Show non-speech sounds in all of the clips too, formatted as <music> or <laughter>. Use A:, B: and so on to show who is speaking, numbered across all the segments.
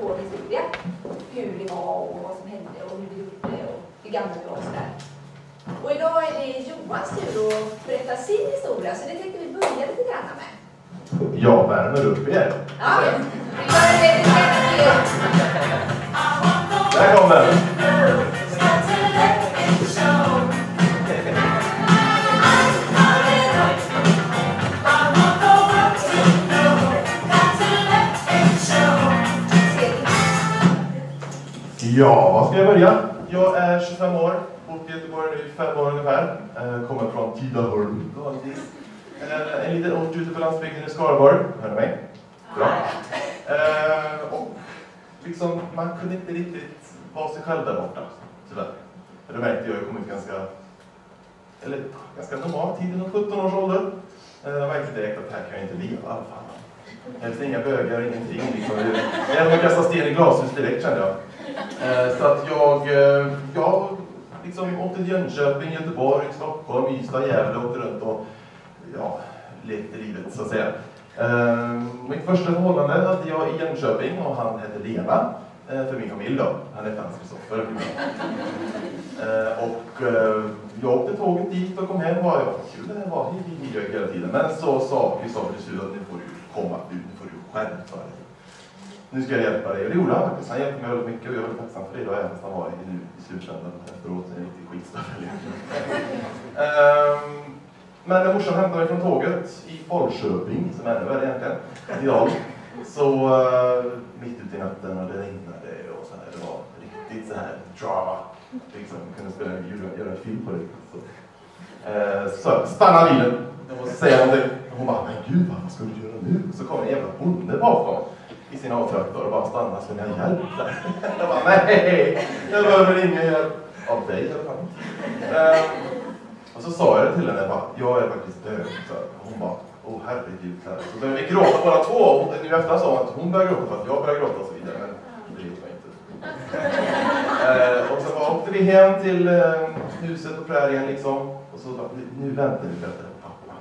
A: vår historia. Hur det var och vad som hände och hur vi gjorde och hur gamla vi var och sådär. Och idag är det Johans tur att berätta sin historia så det tänkte vi börja lite grann med.
B: Jag värmer upp er.
A: Ja, vi gör det lite grann.
B: Där kommer den. Ja, var ska jag börja? Jag är 25 år, bott i Göteborg nu i fem år ungefär. Eh, Kommer från Tidaholm, vanligtvis. Eh, En liten ort ute på landsbygden i Skaraborg. Hör ni mig? Bra. Eh, Och liksom, man kunde inte riktigt vara sig själv där borta, tyvärr. För det märkte jag, jag kom ut ganska, eller ganska normal tid, runt 17 års ålder. Eh, Jag märkte direkt att här kan jag inte leva, vad fan. Det finns inga bögar, ingenting. Liksom. Jag höll på att kasta sten i glashus direkt kände jag. Eh, Så att jag, eh, jag liksom åkte till Jönköping, Göteborg, Stockholm, Ystad, Gävle, åkte runt och ja, levde livet så att säga. Eh, Mitt första förhållande hade jag i Jönköping och han hette Lena, eh, för min familj då. Han hette Hans Kristoffer. Eh, Och eh, jag åkte tåget dit och kom hem och jag vad kul det här var, hi, hi, hi, jag gick hela tiden. Men så sa Kristoffer till slut att nu får du komma ut, nu får du skärpa dig nu ska jag hjälpa dig. Och det gjorde han faktiskt. Han hjälpte mig väldigt mycket och jag är väldigt tacksam för det. Då, även fast han var i, nu, i slutändan efteråt en riktig skitstövel. um, men när morsan hämtade mig från tåget i Falköping, som är ännu värre egentligen, idag. Så eh, mitt ute i natten och det regnade och så här. Det var riktigt så här drama. Liksom, jag kunde spela, göra, göra en film på det. Så. Eh, Så stanna bilen. Jag måste säga någonting. Hon bara, men gud vad ska du göra nu? Så kommer en jävla bonde bakom i sin A-traktor och bara stannar så ni har hjälp där. Jag bara, nej, jag behöver ingen hjälp. Av dig i alla fall. Eh, och så sa jag det till henne, jag bara, jag är faktiskt död. Så hon bara, åh herregud. Så, här. så började vi gråta båda två. Och Nu efter sa hon att hon började gråta för att jag började gråta och så vidare. Men det gjorde jag inte. Eh, och så bara åkte vi hem till eh, huset på prärien liksom. Och så bara, nu, nu väntar vi på att pappa.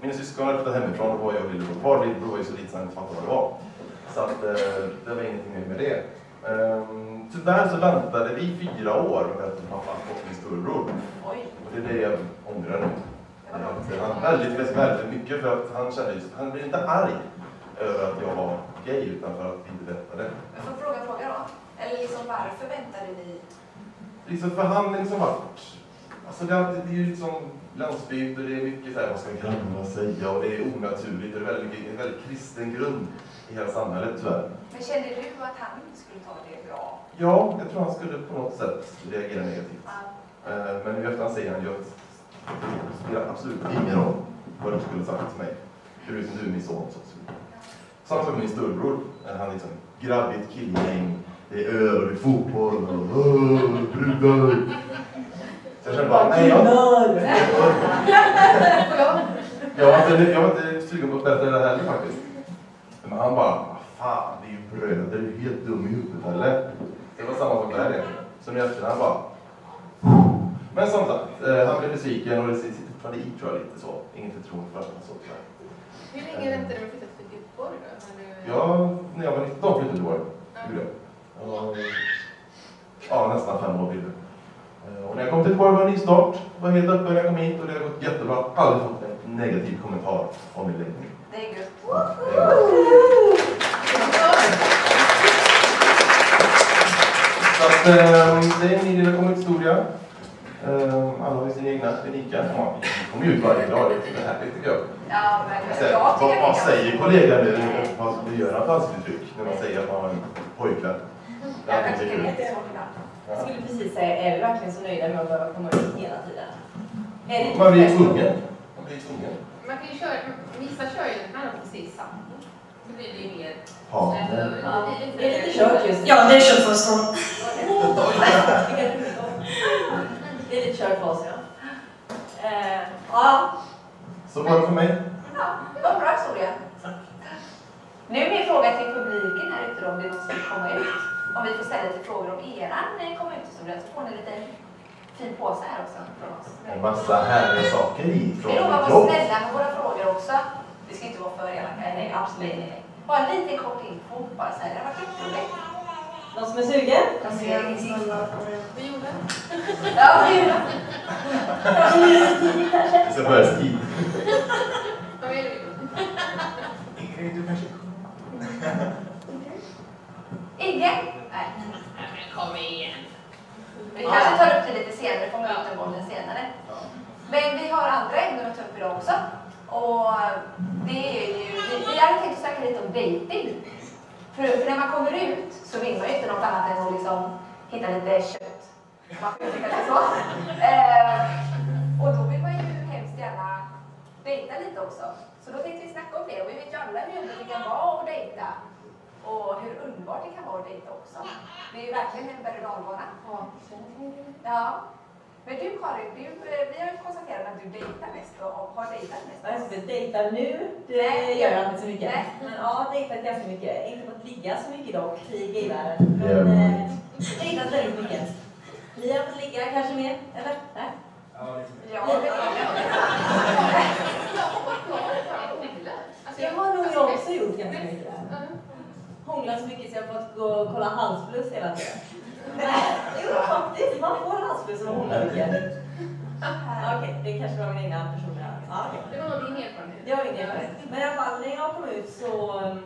B: Mina syskon hade flyttat hemifrån och var jag och lillebror kvar. Lillebror var ju så liten så han inte fattade vad det var. Så att eh, det var ingenting mer med det. Ehm, tyvärr så väntade vi fyra år med att pappa och min storebror.
A: Oj,
B: Och det är det jag ångrar nu.
A: det var långt.
B: Eh, Han väldigt, väldigt, väldigt mycket för att han kände just, han blev inte arg över att jag var gay utan för att vi inte väntade.
C: Jag får fråga en fråga då. Eller liksom varför väntade ni?
B: Liksom för han är liksom varit, alltså det, är alltid- det är ju liksom landsbygd och det är mycket så här, vad ska grannarna säga och det är onaturligt och det är väldigt, mycket- en väldigt kristen grund i hela samhället tyvärr.
C: Men kände du att han inte skulle ta det bra?
B: Ja, jag tror han skulle på något sätt reagera negativt.
C: Ja.
B: Eh, Men i efterhand säger han ju att det spelar absolut ingen roll vad du skulle sagt till mig. Förutom du är min son. Så. Samma sak med min storbror. Eh, Han är liksom grabbigt killgäng. Det är öl och det är fotboll och "Åh, brudar. Så jag känner bara, nej jag,
A: Får jag?
B: jag, var inte, jag var inte sugen på att berätta det där heller faktiskt. Men han bara, "Vad fan vi är ju bröder, du är helt dum i huvudet eller? Det var samma sak där egentligen. Så nu i efterhand bara, men som sagt, eh, han blev besviken och det sitter fortfarande i tror jag lite så. Inget förtroende för varandra så tyvärr.
D: Hur länge väntade du med att flytta till Göteborg då? När du...
B: Jag, när jag var 19 flyttade jag till Göteborg.
D: Ja.
B: Gjorde jag. Och- Ja, nästan fem år blev det. Eh, Och när jag kom till Göteborg var det nystart. Var helt öppen när jag kom hit och det har gått jättebra. Aldrig fått en negativ kommentar om min läggning.
C: Det är gött.
B: Det är bra. Så att, eh, det är min lilla kommit historia. Eh, Alla har ju sina egna unika. Ja, Vi kommer ju ut varje dag. Det är lite härligt tycker jag.
C: Ja, men jag
B: Så,
C: tycker
B: vad,
C: det är
B: vad
C: gött.
B: säger kollegan nu? Vad vad gör han för ansiktsuttryck när man säger att man har en pojkvän? Det är
C: Jag kan
B: alltid
C: tycka det är
B: kul.
C: jättesvårt ibland.
E: Jag skulle precis säga, är du verkligen så nöjd med att behöva komma ut hela tiden? Är det inte
B: Man blir
E: bäst?
B: tvungen. Man blir tvungen.
D: Man kan ju köra, vissa kör ju när de precis sambo. Så blir det ju mer...
B: Ja.
E: Ja,
D: det blir
E: det är lite kört just nu.
F: Ja, det är köttfärssång.
E: Det är lite kört för oss, ja. Eh, ja.
B: Så var det för mig.
C: Det var en bra historia. Nu är min fråga till publiken här ute då, om det är någon som vill komma ut. Om vi får ställa lite frågor om eran eh, komma ut-historia så får ni lite fin påse här också från oss.
B: En massa härliga saker i från
C: Vi lovar att
B: mitt
C: vara
B: jobb.
C: snälla med våra frågor också. Vi ska inte vara för elaka.
E: Nej, nej, absolut.
C: nej. Bara lite kort info, bara så här. Det har varit jätteroligt.
E: Någon som är sugen?
D: Vi gjorde.
C: Ja, <laughs> det är
B: Jag ska börja skriva.
D: Vad vill vi?
C: Ingen? Nej.
D: Kom igen.
C: Vi kanske tar upp det lite senare, fångar upp den bollen senare. Men vi har andra ämnen att ta upp idag också. Och det är ju, vi, vi hade tänkt att snacka lite om dating. För, för när man kommer ut så vill man ju inte något annat än att liksom hitta lite kött. Man får uttrycka det så. Eh, och då vill man ju hemskt gärna dejta lite också. Så då tänkte vi snacka om det. Och vi vet ju alla hur jobbigt det kan vara att dejta. Och hur underbart det kan vara att dejta också. Det är ju verkligen en berg och dalbana. Ja. Men du Karin, du, eh, vi har ju konstaterat att du dejtar mest och och har dejtat mest.
E: Jag inte dejtar nu, det
C: Nej.
E: gör jag inte så mycket.
C: Nej.
E: Men ja, dejtat ganska mycket. Inte fått ligga så mycket dock, krig i världen.
B: Ja.
E: Men eh, dejtat väldigt mycket. Ni har fått ligga kanske mer, eller? Nej?
C: Ja, det
D: Jag har varit glad för bilen. Alltså,
E: Det har nog jag också gjort ganska
D: mest-
E: mycket.
D: Ja.
E: Hånglat så mycket så jag har fått gå och kolla halsfluss hela <laughs> tiden. Jo, faktiskt. Man får halsfluss och hånglar mycket. Ja, Okej, det kanske var min egna personliga... Ja, okej.
D: Det var nog din erfarenhet.
E: Det var min erfarenhet. Men i alla fall, när jag kom ut så um,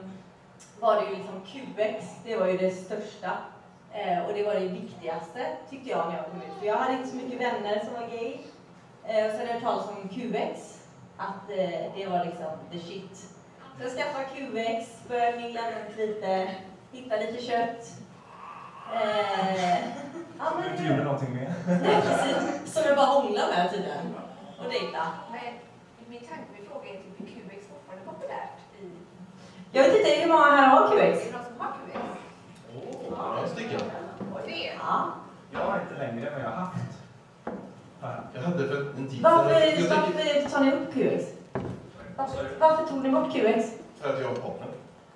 E: var det ju liksom QX, det var ju det största. Eh, och det var det viktigaste tyckte jag när jag kom ut. För jag hade inte så mycket vänner som var gay. Eh, och sen hade jag hört talas om QX, att eh, det var liksom the shit. Så jag skaffade QX, började mingla runt lite, hitta lite kött. Eh, ja, men,
F: Du gjorde någonting med.
E: Nej, precis. Som jag bara hånglade med tydligen. Och dejta.
C: Men min tanke, min fråga är typ, är QX fortfarande populärt? I,
E: Jag vet inte hur många här har QX.
C: är det någon som har QX?
B: Några stycken.
D: Och det.
E: Ja.
F: Jag har inte längre, men jag har haft. Bara.
B: Jag hade för en tid Jag
E: Varför,
B: tycker-
E: varför tar ni upp QX? Varför, varför tog ni bort QX?
B: För att jag har poppen.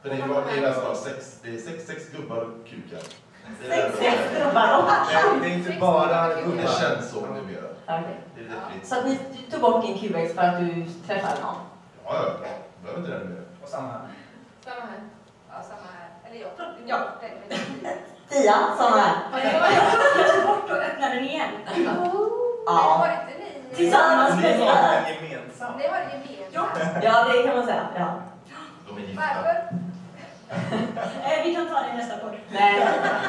B: Den är ju bara, det är nästan bara sex, det är sex, sex gubbar och kukar. Det är
E: Sex
B: det enda.
E: efter och bara...
F: Det är inte bara
B: Det
F: gubbar.
B: känns så numera.
E: Okej.
B: Det är definitivt.
E: Så att ni du tog bort din QX för att du träffade någon?
B: Ja, ja, ja. Behöver inte den mer.
F: Och samma här.
D: Samma här.
C: Ja, samma här. Eller jag
E: Ja.
C: ja. den med den.
E: Dia, sån här.
D: Ja, det var jag.
E: Jag tog bort och öppnade den igen.
C: Men
E: Ja.
C: har inte ni...
E: Tillsammans
F: Ni har
E: bästa.
F: en gemensam.
C: Ni har det gemensamt.
E: Ja, det kan man säga. Ja.
B: De är gifta.
C: Varför?
E: Eh, vi kan ta det i nästa podd. Nej,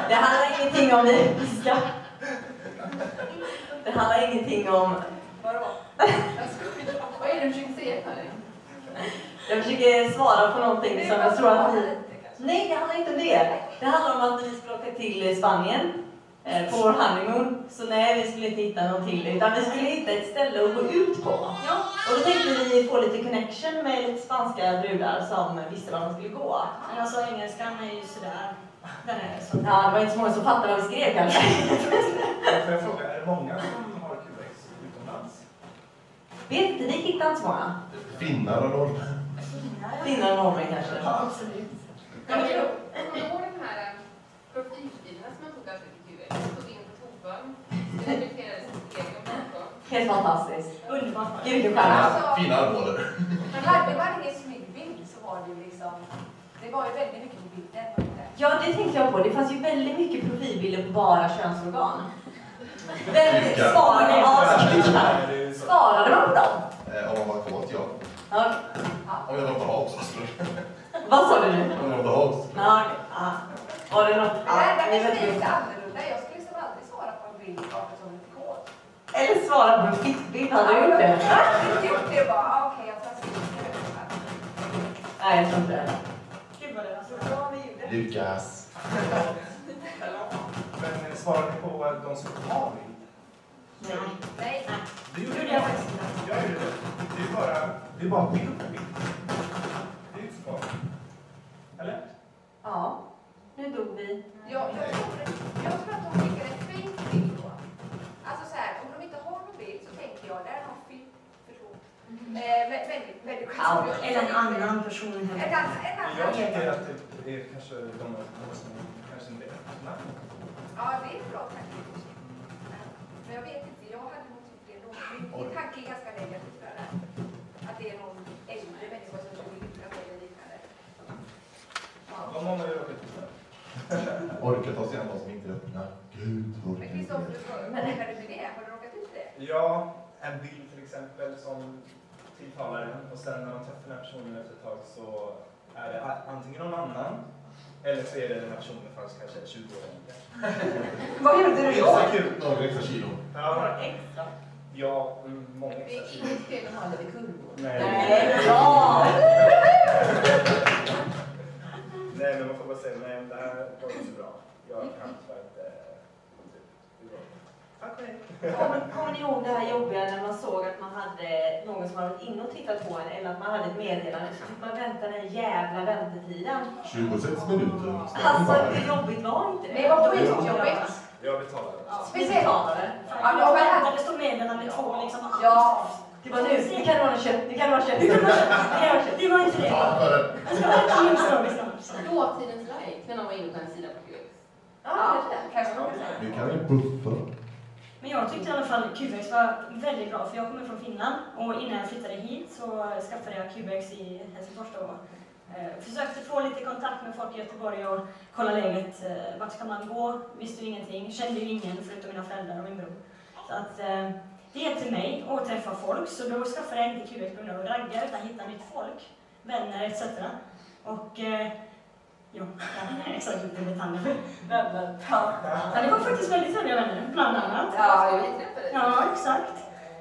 E: det handlar ingenting om lesbiska. Det handlar ingenting om...
D: Vadå? Jag skojar. Vad är det du försöker säga Karin?
E: Jag försöker svara på någonting som jag tror att ni...
C: Lite kanske.
E: Nej, det handlar inte om det. Det handlar om att vi skulle åka till Spanien eh, på vår honeymoon. Så nej, vi skulle inte hitta någon till utan vi skulle hitta ett ställe att gå ut på. Och då tänkte vi få lite connection med lite spanska brudar som visste var de skulle gå.
G: Men alltså engelskan är ju sådär. Den är så.
E: Ja, det var inte så många som fattade vad vi skrev kanske.
F: Får jag fråga, är det många som har QX utomlands?
E: Vet inte, vi hittade inte så många.
B: Finnar och norrmän.
E: Finnar och norrmän kanske.
G: Absolut.
D: Jag kommer ihåg- jag kommer ihåg den här eh, profilbilden som man tog av sitt huvud. Man tog in på Toban. Det reflekterades i egen bakom.
E: Helt fantastiskt.
G: Underbart.
E: Gud vilken stjärna.
C: Alltså-
B: Fina armbågar.
C: Men hade man ingen snygg bild så var det ju liksom... Det var ju väldigt mycket på bilden. var det inte?
E: Ja, det tänkte jag på. Det fanns ju väldigt mycket profilbilder på bara könsorgan. Väldigt
B: Vilka?
E: svaga. Ja, så kvinnor.
F: Är det så?
E: Sparade man på dem?
B: Eh, Om man var kåt, ja.
E: Ja,
B: Om jag var behaglig så skulle
E: Vad sa du nu?
B: Om jag var behaglig så
E: Ja, okej. ja. Var det något?
C: Det
E: Ja, det
C: här det
E: är
C: här kanske blir
E: väldigt
C: lite annorlunda. Jag skulle liksom aldrig svara på en bild av en person lite kåt.
E: Eller svara på en fittbild. Hade du gjort det?
C: Jag gjort det bara. ah, Okej, jag tar en bild.
E: Nej, jag tror inte det.
G: Gud vad det var så.
B: skulle- Lukas.
F: Men eh, svarar ni på eh, de som har bild?
G: Nej.
C: Nej,
F: Det
G: Det gjorde jag faktiskt inte.
F: Jag gjorde det. Det är bara, det är bara bild på bild. Det är ju inte så farligt. Eller?
E: Ja, nu dog vi.
C: jag, jag, tror, jag tror att de skickar en fake bild då. Alltså så här, om de inte har någon bild så tänker jag, där är någon film. Förlåt. Eh, vä- väldigt, väldigt
G: Ja, eller en annan person.
C: En annan, en
F: Men
C: annan.
F: Jag tycker att det är kanske de som kanske inte är öppna.
C: Ja, det är en bra tanke. Ja. Men jag vet inte, jag hade nog tyckt det låg. Min, min tanke är ganska negativ för det här. Att det är någon äldre människa som försöker lyckas eller liknande.
F: någon har ju råkat ut för det.
B: Orkar ta sig an de som inte är öppna. Gud, orkar
D: Men
B: inte.
D: Kristoffer, hur råkade du det? Har du råkat ut för det?
F: Ja, en bild till exempel som tilltalar en och sen när man träffar den här personen efter ett tag så är det a- antingen någon annan eller så är det den här personen fast kanske 20 år äldre.
C: Vad gjorde
B: Det
C: du
B: är
C: då?
B: så kul. Några extra kilo.
F: Ja,
G: Extra.
F: ja mm, många
D: Det
F: extra
D: är
F: tjugo.
D: inget fel att ha lite kurvor.
F: Nej,
E: Nej, bra!
F: nej, men man får bara säga nej, det här var inte så bra. Jag
E: Mm.
F: kan tyvärr inte... typ, det var- Okej.
E: Kommer, kommer ni ihåg det här jobbiga när man såg att man hade någon som hade varit inne och tittat på en eller att man hade ett meddelande så fick man vänta den jävla väntetiden.
B: 26 minuter.
E: Alltså hur jobbigt var inte det?
D: Det var skitjobbigt.
F: Jag betalar.
D: Speciellt.
G: Ja, jag väntade, det stod meddelande två liksom.
A: Ja.
E: Det var nu, det kan vara kött, det kan vara kött, det kan vara kött, det kan vara kött.
G: Det var inte det.
B: Fan för det.
G: liksom.
D: Dåtidens like när någon var inne på en sida på QX.
E: Ja, kanske.
D: kanske man kan säga.
B: Vi kan ju buffa.
G: Men jag tyckte i alla fall QX var väldigt bra för jag kommer från Finland och innan jag flyttade hit så skaffade jag QX i Helsingfors då. Eh, försökte få lite kontakt med folk i Göteborg och kolla läget. Eh, vart ska man gå? Visste ju ingenting. Kände ju ingen förutom mina föräldrar och min bror. Så att eh, det är till mig att träffa folk så då skaffade jag inte QX på grund av att ragga utan hitta nytt folk, vänner etc. Och eh, jo, <laughs> exakt lite detaljer. Vänner. Ja. Ja, det var faktiskt väldigt trevliga vänner, bland annat.
D: Ja, vi träffades.
G: Ja, exakt.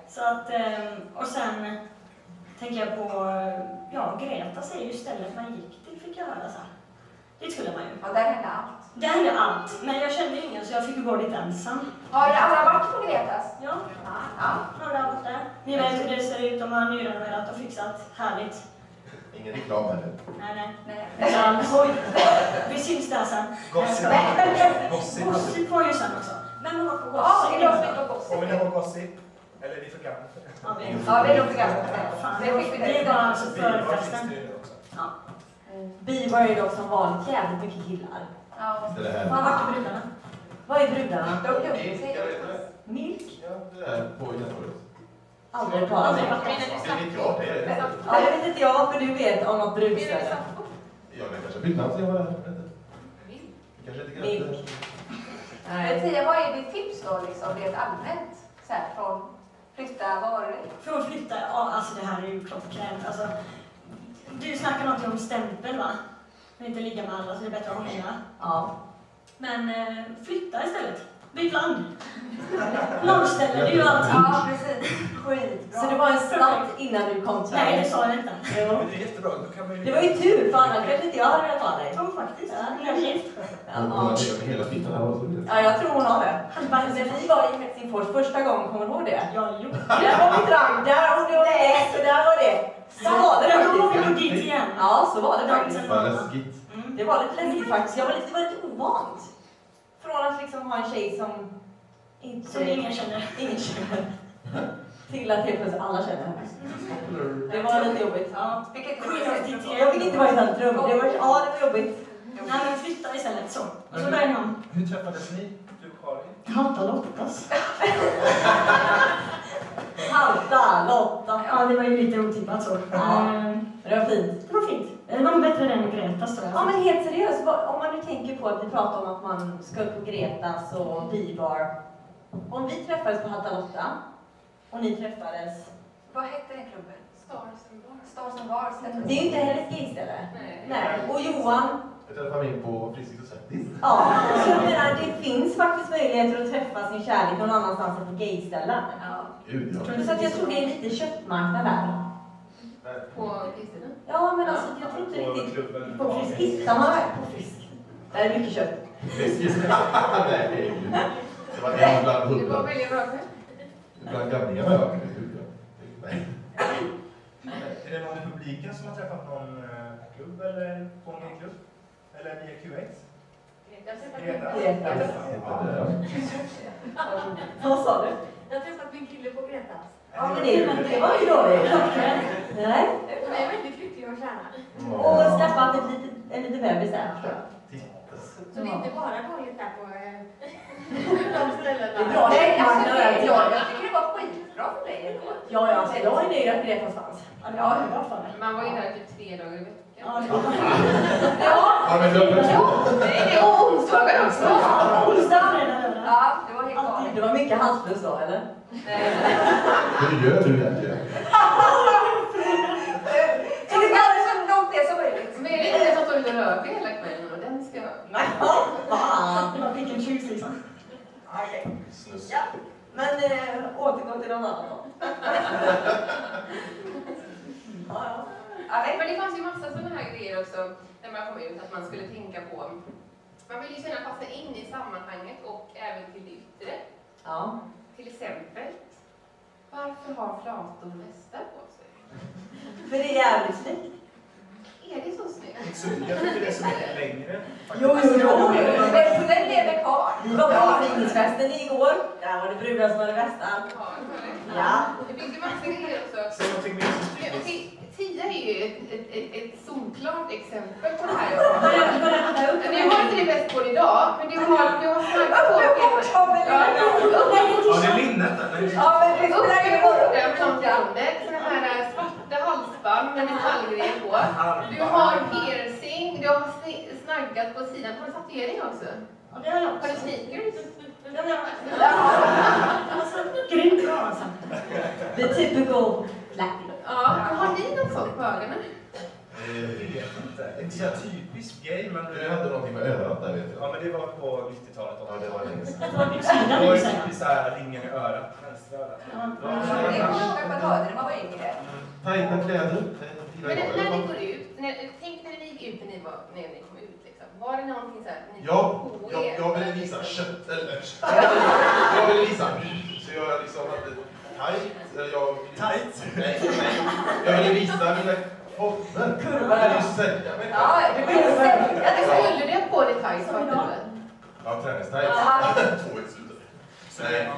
G: Så att, ehm, och sen tänker jag på, eh, ja, Greta säger ju stället man gick till fick jag höra sen. Dit skulle man ju.
D: Ja, där hände allt.
G: Det hände allt, men jag kände ju ingen så jag fick ju gå dit ensam.
D: Har alla varit på Gretas?
G: Ja,
D: Ja.
G: några har varit där. Ni vet hur det ser ut, de har nyrenoverat och fixat. Härligt.
B: Ingen reklam heller.
G: Nej, nej.
D: Nej.
G: Utan, oj, vi syns där sen.
F: Gossip. Gossip.
G: Gossip var ju sen också. Men man var på
D: Ja, det är bra att
G: gossip.
D: vi på
F: Kommer ni
D: Gossip.
F: ihåg Gossip? Eller det är för gammalt.
G: Ja, vi-
D: Ja, det är nog programmet.
G: Fan,
D: Det fick vi
G: Det var
D: direkt.
G: alltså förfesten.
F: finns det ju nu också.
G: Ja.
E: Vi var ju dock som vanligt jävligt mycket killar.
D: Ja.
B: Det här.
G: Fan, vart är brudarna?
E: Vad är brudarna?
D: De gömde sig någonstans.
E: Milk?
B: Ja, det är på Göteborg.
E: Aldrig hört talas om.
B: Det vet jag. Det är det.
E: Ja, det vet inte jag för du vet om något brukställe.
B: Ja, det kanske har bytt namn sen jag var där. Jag vet inte. Det kanske inte
E: Milk.
B: gränsar.
D: Men
E: Nej.
D: Tia, vad är ditt tips då liksom rent allmänt? Så här från flytta, vad var det?
G: För att flytta, ja alltså det här är ju klockrent. Alltså, du snackar någonting om stämpel va? Att inte ligga med alla så det är bättre att ha många.
E: Ja.
G: Men eh, flytta istället. Byt land. Nollställe, det är ju alltid.
D: Ja, precis.
E: Skitbra. Så det var en snabb innan du kom till
G: Nej, det sa jag inte.
E: Jo.
F: Men det är jättebra. Då kan man ju...
E: Det var ju tur för annars kanske inte jag hade velat ha dig.
G: Jo, faktiskt. Hon är gift.
B: Hon har
E: Ja.
B: legat med hela Finland här också.
E: Ja, jag tror hon har det.
G: Han bara,
E: Men vi var i Helsingfors första gången, kommer du ihåg det?
G: Ja, jo.
E: Där var mitt rang, där och det var det, så där var det. Så var det
G: Men då var
E: faktiskt.
G: vi nog dit igen.
E: Ja, så var det faktiskt.
B: Vad läskigt.
G: Mm.
E: Det var lite läskigt faktiskt. Jag var lite, det var lite ovant. Från att liksom ha en tjej som inte...
G: Som ingen känner.
E: ingen känner. Till att helt plötsligt alla känner henne. Det var lite jobbigt.
G: Ja.
D: Vilket
G: Queen
D: är
G: of
D: säkert-
G: DTM.
E: Jag fick inte vara i centrum. Det var, ja, det var jobbigt.
G: Nej, men flytta istället så. Och så börjar någon.
F: Hur träffades ni? Du och Karin?
G: Hatta Lottas.
E: Halta, Lotta.
G: Ja, det var ju lite otippat så.
E: Ja.
G: Ehm,
E: Det var fint.
G: Det var fint. Det var bättre än Gretas tror jag.
E: Ja, men helt seriöst. vad- Om man nu tänker på att vi pratar om att man ska upp på Gretas och Bibar. Om vi träffades på Halta Lotta och ni träffades.
D: Vad hette den klubben?
H: Stars and bars.
D: Stars and Bars? hette den.
E: Det är ju inte Helles Gigställe.
D: Nej.
E: Nej. Och Johan
B: Jag träffade min på Friskis och Svettis.
E: Ja, så jag menar, det finns faktiskt möjligheter att träffa sin kärlek någon annanstans än på gayställen.
D: Ja,
B: Gud, ja.
E: Så att jag tror det är lite köttmarknad där.
D: på Kristina.
E: Ja, men alltså jag tror inte
F: På
E: riktigt...
F: klubben?
E: På fisk hittar man verkligen på fisk. Där är mycket kött.
B: Friskis. Nej, det är ju- Det var en bland
E: Mm.
D: Du var
B: hundra.
D: väldigt bra själv.
B: Bland gamlingarna, ja. Gud, ja. Nej.
F: Är det någon i publiken som har träffat någon eh, klubb eller på någon klubb? Eller E via QX?
H: Jag har
F: Greta?
H: träffat-
E: Greta.
B: Heter det, ja.
E: Vad sa du?
H: jag har träffat min kille på Gretas.
E: Ja, men det, det var ju dåligt. Nej.
H: Jag är väldigt lycklig och kärna.
E: Och skaffat ett litet, en liten bebis där.
B: Titta.
H: Så det är inte bara dåligt där på eh, <laughs> de
E: Det är
H: ställena.
E: bra
D: Nej, alltså,
E: köttmarknad
D: det,
E: där.
D: jag, jag tycker det var skitbra för dig ändå.
C: alltså,
E: Ja, ja, så jag är nöjd att Gretas fanns.
G: Ja, det var bra för mig.
D: Man var ju där typ tre dagar i veckan. vecka.
G: Ja, det var
C: Ja,
B: Har de en dubbel
C: ja, det är och onsdagar också.
G: onsdag, fredag, lördag.
C: Ja, det var helt
E: Alltid.
C: galet.
E: Det var mycket halsfluss då, eller?
D: Eh,
B: Hur gör du det?
C: Så det är så långt det som möjligt.
D: Men är det inte så att de vill röra på hela kvällen och den ska vara...
E: Nej, fan.
G: Det var pick and choose liksom.
E: Okej.
B: Snus.
E: Ja. Men eh, återgå till någon annan då. Ja, ja.
C: Ja, nej.
D: Men det fanns ju massa sådana här grejer också när man kom ut, att man skulle tänka på. Man vill ju känna passa in i sammanhanget och även till det yttre.
E: Ja.
D: Till exempel, varför har flator västar på sig?
E: För det är jävligt snyggt.
D: Är det så snyggt?
F: Så jag tycker det är så mycket längre.
E: Jo, jo, jo.
C: Västen lever kvar.
E: Vi var på fritidsfesten igår. Där var det brudar som hade västar.
D: Ja, det var det.
E: Ja.
D: Det finns ju massa grejer också.
F: Så någonting mer som
D: Men
F: sticker.
D: okej, Tia är ju ett, ett, ett, ett solklart exempel på det här.
G: Börja- börja handla upp.
D: Nu har inte det bäst på idag, men du har, du har snabbt på
F: Ja, det är linnet där. Nej,
E: Ja, men det
D: Upp
E: spelar
D: med
E: ingen roll.
D: skjortan från landet, såna här svarta halsband med metallgrejer på. Du har piercing, du har sni- snaggat på sidan. Har du tatuering också?
G: Ja, det har jag
D: Har du
G: också.
D: sneakers?
G: Den har jag också. Alltså, Grymt bra alltså.
E: The typical blackie.
D: Ja, men har ni något sånt på ögonen?
F: Jag vet inte. Inte så här typisk grej, men...
B: Eh, Du hade någonting med örat där vet jag.
F: Ja, men det var på 90-talet
B: Ja,
F: också.
B: det var länge sedan.
G: Det var
F: Det
G: byxorna
F: var ju
G: liksom.
F: typiskt såhär ringen i örat, vänster örat.
G: Ja.
C: Det kommer jag ihåg att man hörde när man var yngre.
B: Tajta kläder. tajta
D: Men när
B: tillhåll.
D: ni går ut, när, tänk när ni gick ut när ni, var, när ni kom ut. Liksom. Var det någonting så här, ni
B: Ja,
D: kom på
B: jag,
D: er?
B: jag ville visa kött, eller kött. Jag ville visa, så jag liksom hade tajt, eller jag...
F: Tight.
B: Nej, nej. Jag ville visa mina former.
E: Kurva.
B: Jag ville sälja mig.
C: Ja, det blir säkert.
D: Ja, det skulle det på dig Thais
G: Som idag.
B: Ja, träningstajt.
C: Ja.
B: Två i slutet.
F: Nej.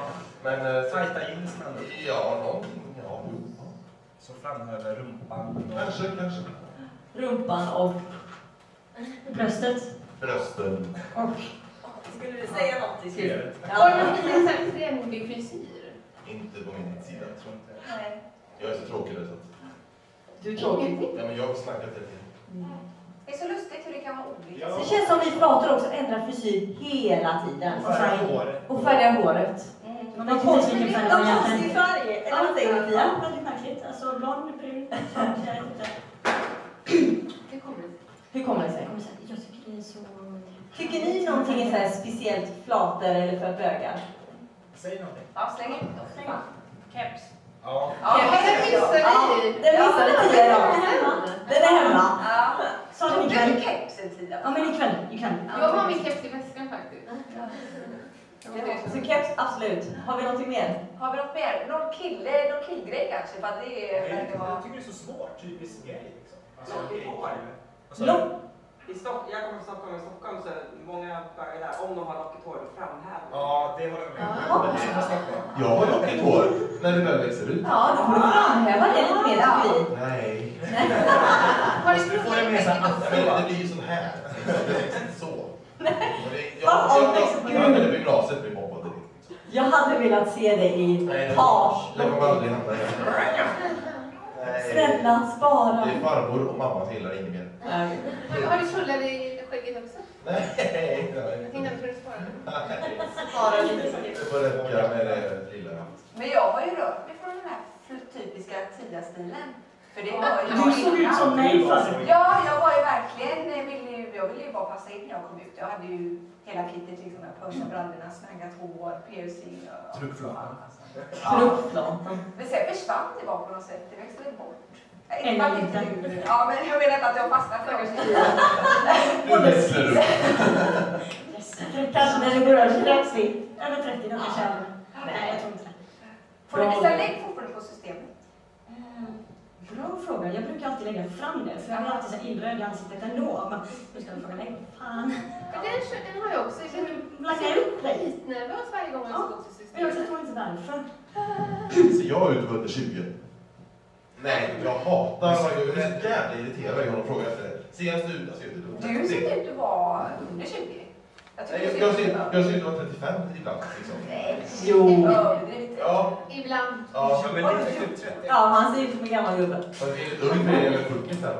B: Nej, men... eh, så-
F: Tajta jeans med andra ord.
B: Ja, någonting. Ja, jo.
F: Så framhäver rumpan.
B: Kanske, kanske.
E: Rumpan och...
G: Bröstet.
B: Brösten.
E: Skulle du säga något i
F: Ser.
D: Har du någon liten så här trendig frisyr?
B: Inte på min sida.
F: Jag tror inte.
E: Nej.
B: Jag är så tråkig nu så att...
E: Du är tråkig.
B: Ja, men jag har snackat lite.
C: Det är så lustigt hur det kan vara olika.
F: Ja.
E: Det känns som vi pratar också ändrar frisyr hela tiden.
F: Färga håret.
E: Och färgar håret.
G: Man
E: De
G: vet inte ens
E: konstig
G: vilken färg man
E: färg. De
G: egentligen
E: konstig färg. Eller vad säger du Pia?
G: Ja, väldigt märkligt. Alltså blond, brun, svart, jag vet inte.
D: Det kommer
E: Hur kommer det sig?
G: Jag kommer säga, Jag tycker det är så...
E: Tycker ni någonting är så här speciellt flator eller för bögar?
F: Säg någonting.
C: Ja, släng ut dem.
G: Släng. Keps.
F: Ja.
C: Ja,
E: Ja,
C: men den missade vi.
E: Den missade Tia
G: Den
E: idag.
G: är hemma.
E: Den är hemma.
C: Ja.
G: Sa den
C: Du hade
G: ikväll?
C: kepsen Tia.
G: Ja, men ikväll. Ikväll.
D: Jag har min keps i väskan faktiskt.
E: Så keps, absolut. Har vi någonting mer?
C: Har vi något mer? Någon kille, någon killgrej kanske? För att det är... verkar vara-
F: Jag tycker det är så svårt. Typisk grej liksom. Alltså, grej. Vad sa du?
E: Lopp.
I: I Stock, jag kommer från Stockholm, i Stockholm så är många bögar där, om de har lockigt hår, då framhäver de.
F: Ja, det håller jag med om.
E: Ja.
F: Det är så Stockholm.
B: Jag har lockigt hår när det väl växer ut.
E: Ja, då får du framhäva det lite mer tycker vi.
B: Nej.
D: Har du
F: Du får det med sig
B: Ja, men
F: andra.
B: det blir ju sån här. <laughs> Det växer inte så. Och det- Jag
E: Vad
B: jag-
E: omväxling på
B: jag- jag använder det på gymnasiet, blir mobbad direkt. liksom.
E: Jag hade velat se dig i
B: Nej, det-
E: page.
B: Det kommer aldrig hända igen. Nej.
E: Snälla,
B: Det
E: spara.
B: är farmor och mamma som gillar det, inget mer.
E: Nej.
D: Har du tullar i skägget också?
B: Nej, nej, nej.
D: Jag tänkte att du skulle svara.
E: Spara lite.
B: Det får räcka med det lilla jag haft.
C: Men jag har ju rört mig från den här fl- typiska Tia-stilen. För det var ju
G: Du såg ut som mig förr.
C: Ja, jag var ju verkligen, ville ju, jag ville ju bara passa in när jag kom ut. Jag hade ju hela kittet liksom, med pösa, brallorna, snaggat hår, piercing och...
F: Truckflatan.
C: Ja.
E: Truppflatan.
C: alltså. Men sen försvann det bara på något sätt, det växte väl bort. Nej,
G: Eller
C: bara
G: inte.
C: nu. Ja, men jag menar inte att jag fastnat för det.
B: Nu växer du.
G: Yes.
E: Kanske när det börjar kräkas vi.
G: Över 30 när jag kör. Nej, jag tror inte det.
C: Får du visa lägg fortfarande på systemet?
G: Mm, Bra fråga. Jag brukar alltid lägga fram det, för jag blir alltid så här illröd i ansiktet ändå. Men nu ska jag fråga dig. Fan.
D: Men Den, den har jag också. Jag
G: Ska
D: känner
G: du
D: mig
G: blacka ut dig?
D: skitnervös varje gång jag
G: Ja.
D: ska gå till
G: Men jag
D: systemet.
G: förstår inte varför.
B: Ser jag ut under 20? Nej, jag hatar honom. Jag blir så jävla irriterad varje gång de frågar efter det. Ser jag inte ut? Jag ser inte ut.
C: Du ser ut att vara under 20. Jag tycker
B: Nej,
C: du
B: Jag
C: ser ut
B: ser
C: att vara...
B: jag ser ut att vara 35 ibland. Liksom.
C: Nej,
E: Jo.
C: överdriv inte.
B: Ja,
D: Ibland.
F: Ja, men det är typ 30.
E: Ja, han ser ut som en gammal gubbe.
B: Fast det är ung med eller 40 sen.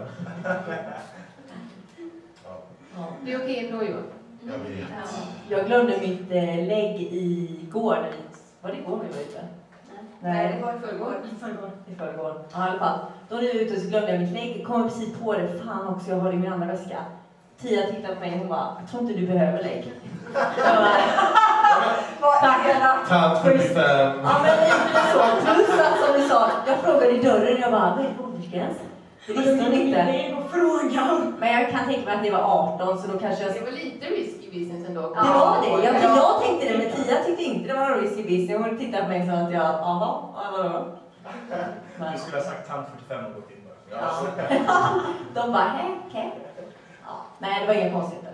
B: Ja,
E: Ja.
D: Det är okej ändå ju.
B: jag vet.
E: Jag glömde mitt eh, lägg igår. när vi- Var det igår vi var ute?
C: Nej, det var i förrgår.
G: I förrgår.
E: I förrgår. Ja, i alla fall. Då när vi var ute så glömde jag mitt lägg. Kom precis på det. Fan också, jag har det i min andra väska. Tia tittade på mig och hon bara, jag tror inte du behöver lägg. <laughs> Jag bara, Tack.
B: Tant 45.
E: Ja men lite så. Plus att som du sa, jag frågade i dörren jag bara, vad är det för åldersgräns? Det visste hon inte.
G: Det är på frågan.
E: Men jag kan tänka mig att det var 18 så då kanske jag
D: Det var lite risky business ändå.
E: Det var det. Jag, jag tänkte det, men Tia tyckte inte det var någon risky business. Hon tittade på mig som att jag, aha, ja, vadå? Men
F: Du skulle ha sagt tant 45 och gått in bara.
E: Ja. <laughs> de bara, hej, okej. Ja, nej, det var inga konstigheter.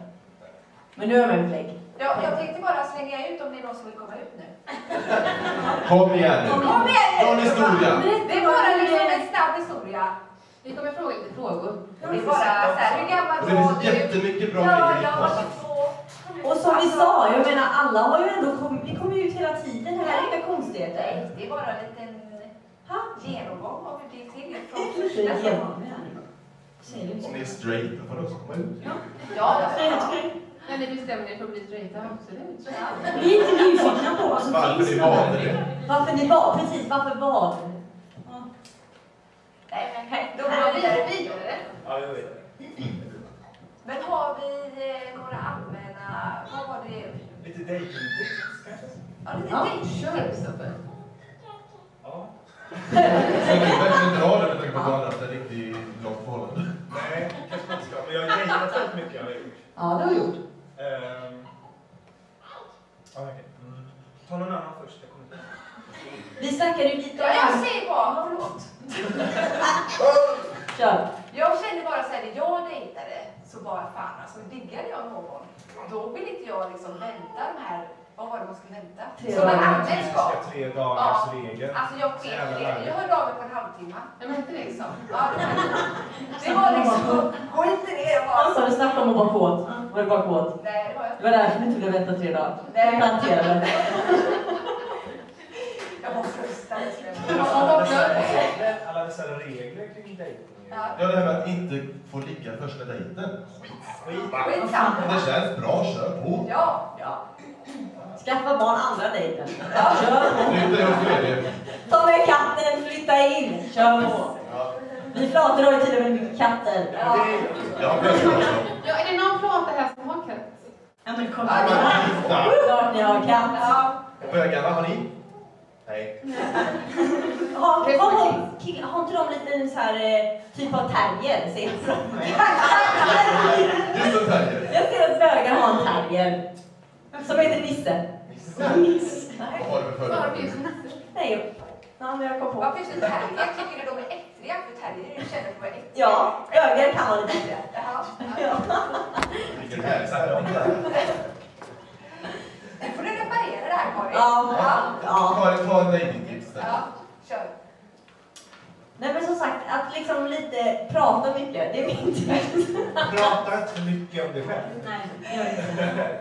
E: Men nu har jag mitt lägg.
C: Ja, jag tänkte bara slänga ut om det är någon som vill komma ut nu.
B: Kom igen nu.
C: Kom igen!
B: Dra en historia.
C: Det är bara liksom en snabb historia.
D: Vi kommer fråga lite frågor.
C: Det är bara så här, hur
B: Och
C: gammal
B: det
C: var
B: finns
C: du?
B: jättemycket bra
C: Ja,
B: grejer.
C: jag
B: kvar.
C: var 22. liksom-
E: Och som vi sa, jag menar alla har ju ändå kommit, vi kommer ju ut hela tiden. Det här är inga konstigheter.
C: Nej, det är bara en liten
E: Ha?
C: genomgång av hur det gick till
E: Det
C: från
E: är lite
C: första
E: jävla.
C: samtalet.
G: Säger du inte.
B: Om ni är straight, då får ni också komma ut.
C: Ja,
G: Säg det
C: ja.
G: till mig.
D: När ni bestämmer er för att bli straighta, absolut.
G: Vi är inte nyfikna på vad som
B: Varför
G: finns.
B: ni
G: där.
B: valde det.
E: Varför ni var, precis, varför var?
C: Nej, men hej, då går vi vidare. vidare.
F: Ja, jag vet.
C: Men har vi eh, några allmänna, vad var det?
F: Lite dejtingtips kanske?
C: Ja, lite
E: Ja,
C: dejttips.
D: Kör Kristoffer.
F: Ja.
B: Så ni verkligen inte har det med tanke på att du har haft ett riktigt långt förhållande.
F: Nej, kanske man inte ska. Men jag har dejtat väldigt mycket. Jag har gjort.
E: Ja, det har jag gjort.
F: Ehm, ja, okej. Mm. Ta någon annan först. Jag kommer inte ihåg.
E: Vi snackade ju lite
C: Ja, jag säger bara, förlåt.
E: Kör.
C: Jag kände bara så här, när jag dejtade så bara fan alltså diggade jag någon. Då vill inte jag liksom vänta de här, vad var det man skulle vänta?
E: Tre
C: Sådana
E: dagar.
C: andra ska.
F: Typiska tre dagars regeln.
C: Alltså jag sket i det. Jag hörde av mig på en halvtimme.
D: Ja, men inte det.
C: Liksom. Ja, det, var- det var liksom, gå inte ner. Jag bara,
E: Alltså, vi snackade om att vara kåt. Var du bara kåt?
C: nej det var jag
E: Det
C: inte.
E: var därför du inte ville vänta tre dagar.
C: Nej.
E: Planterade.
C: Jag var frustrerad.
F: Alla dessa regler, alla dessa regler kring dejting.
C: Ja.
B: Ja, det här med att inte få ligga första dejten.
F: Skitsamma.
B: Om
C: Skitsamma.
B: det känns bra, kör på.
C: Ja, ja.
E: Skaffa barn andra dejten. Kör på.
B: Flytta ihop med det.
E: Ta med katten, flytta in. Kör på.
B: Ja,
E: Vi flator har ju till och med mycket katter.
B: men det är... Ja, men det är bra.
D: Ja, är det någon flata här som har katt?
G: Ja, men kolla.
C: Ja, det var-
B: Ja.
E: Klart ni har katt.
C: Ja,
B: Bögarna, har ni? Nej.
E: Har, vad har, kill- har inte de lite så här eh, typ av terrier? Ser jag.
B: Just en terrier.
E: jag ser att bögar har en terrier. Som heter Nisse.
B: Vad har du för
D: Bara vi
B: födelsedag?
D: som
E: Nej, ja, men jag kom på.
C: varför är det så terrier? Tycker du de är äckliga? För terrier känner på mig äckliga.
E: Ja, bögar kan vara lite äckliga.
C: Jaha.
E: Ja.
B: Vilken härlig sarong.
C: Nu får du reparera det här Karin.
E: Ja, ja.
B: Karin, ta en dejtingtips där.
C: Ja, kör.
E: Nej men som sagt, att liksom lite prata mycket, det är min tips.
F: Prata inte för mycket om dig själv.
G: Nej, gör inte det.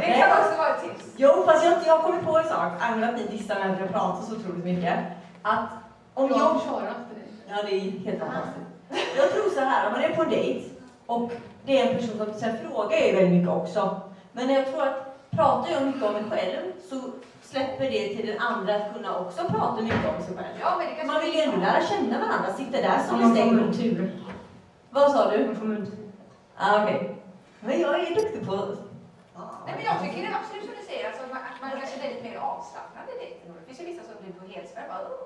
C: Det kan också vara ett tips.
E: Jo fast jag, jag kommer på en sak, angående att ni dissar mig för jag pratar så otroligt mycket. Att om jag...
D: Jag kör efter dig.
E: Ja det är helt fantastiskt. Jag tror så här, om man är på en dejt och det är en person som sen frågar ju väldigt mycket också. Men jag tror att pratar jag mycket om mig själv så släpper det till den andra att kunna också prata mycket om sig själv.
C: Ja, men det kanske
E: Man vill ju ändå lära känna varandra, sitta där som
G: Man
E: en
G: får
E: stängd.
G: muntur.
E: Vad sa du?
G: Man får muntur.
E: Ah, okej. Men jag är duktig på...
C: Nej, men jag tycker det är absolut som du säger, alltså, man- att man kanske blir lite mer avslappnad i dejten. Det finns ju vissa som blir på helspänn. bara, "Åh."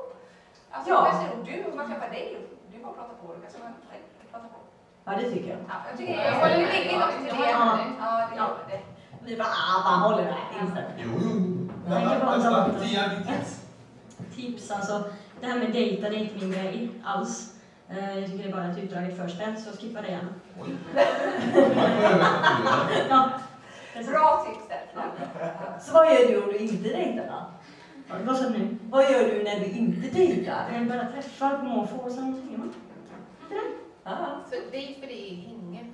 C: Alltså,
E: Ja.
C: ja. kanske om du, om man träffar dig, och du bara pratar på. Då kanske man nej, pratar på.
E: Ja, det tycker jag.
C: Ja, jag tycker det
D: Jag
C: är...
D: håller
C: Det
D: med dig.
C: ligger något i det.
D: Jag
C: Ja,
D: håller med dig.
C: det gör det.
E: Ni bara, ah, fan håller det här inställt.
B: Jo, jo.
G: Nej, det var
B: Nästa.
G: inte.
B: Tia, ditt tips.
G: Tips alltså. Det här med dejta, det är inte min grej alls. Eh, Jag tycker det är bara ett utdraget förspel, så skippa det gärna.
B: Oj. Man får över
G: Ja, precis.
C: Bra tips där. Ja.
E: Så vad gör du om du inte dejtar då?
G: Ja, Vad sa du nu?
E: Vad gör du när du inte dejtar?
G: Eh, Bara träffa på måfå och sen svingar man.
E: Ah.
D: Så dejt för dig är hänge.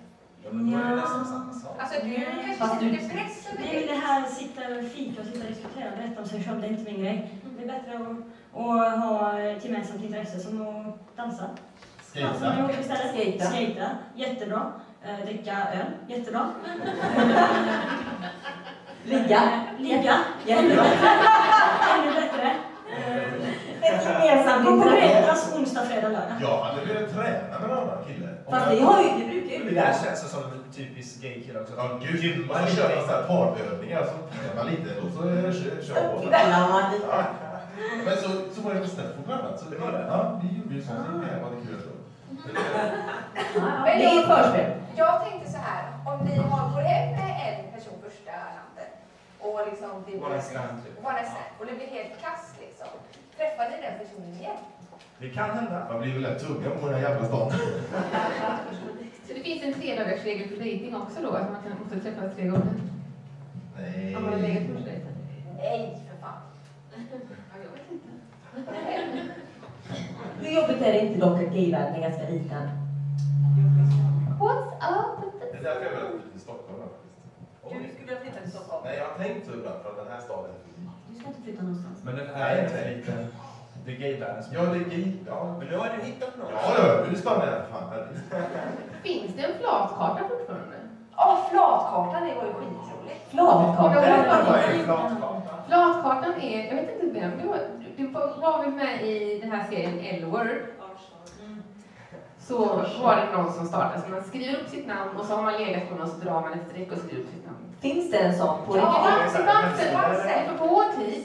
F: Ja, men då är det nästan samma sak.
C: Alltså, du kanske
E: Fast du-
C: sätter press över
G: Nej men
C: dig.
G: det här sitta och fika och sitta och diskutera och berätta om sig själv, det är inte min grej. Det
H: är bättre att, att ha ett gemensamt intresse som att dansa. Dansa med
B: Skejta.
H: ihop istället.
E: Skejta.
H: Skejta. Jättebra. Eh, dricka öl. Jättebra.
E: Ligga.
H: Eh, Ligga.
E: Jättebra.
H: Ännu bättre.
E: Ett gemensamt
H: Gå på
E: intresse.
H: Bretas onsdag, fredag, lördag.
B: Jag hade velat träna med en annan kille. Om
E: Fast
B: jag-
E: vi har ju, det brukar ju
F: Det
E: bli
F: där
E: bra.
F: känns som en typisk gay-kille också.
B: Ja, gud. Man kör köra sådana här parövningar, så tränar lite och så eh, kör- kör på.
E: Mellan man lite.
B: Ja. Men så, så var det på Steffo bland annat. Så det var det. Ja, vi gjorde ju sånt. Det var det kul.
E: Det är ett förspel.
C: Jag tänkte så här, om ni har, går hem med en person första natten och liksom det
F: One
C: blir,
F: night stand, typ.
C: och, one night stand, och det blir helt kass liksom. Träffar ni den personen igen?
F: Det kan hända.
B: Man blir väl lätt tunga på den här jävla stan.
D: Så det finns en tre dagars regel för dejting också då? Att man kan måste träffas tre gånger?
B: Nej.
D: Om man har legat första dejten?
C: Nej, för fan.
D: Ja, jag vet inte.
E: Hur jobbigt är det inte dock att gayvärlden är ganska liten?
C: What's up?
B: Det är därför jag är väldigt flytta till Stockholm faktiskt.
E: Du skulle flytta till Stockholm.
B: Nej, jag har tänkt så ibland för att den här staden är för liten.
E: Du ska inte flytta någonstans.
F: Men den
B: Nej,
F: är inte
B: nej.
F: liten. Det är gay-världen som...
B: Ja, det är gay. Ja,
F: Men nu har du hittat någon.
B: ja, ja. Nu stannar jag för fan. Här.
D: Finns det en flatkarta fortfarande?
C: Ja, flatkartan det var ju skitroligt.
E: Flatkartan.
F: Vad är en flatkarta?
D: Flatkartan är, jag vet inte vem det var, det var- var väl med i den här serien L-word? Så var det någon som startade, så man skriver upp sitt namn och så har man legat på någon så drar man ett streck och skriver upp sitt namn.
E: Finns det en sån på
D: Ja,
E: riktigt?
D: det fanns, det fanns, det fanns det. För på vår tid,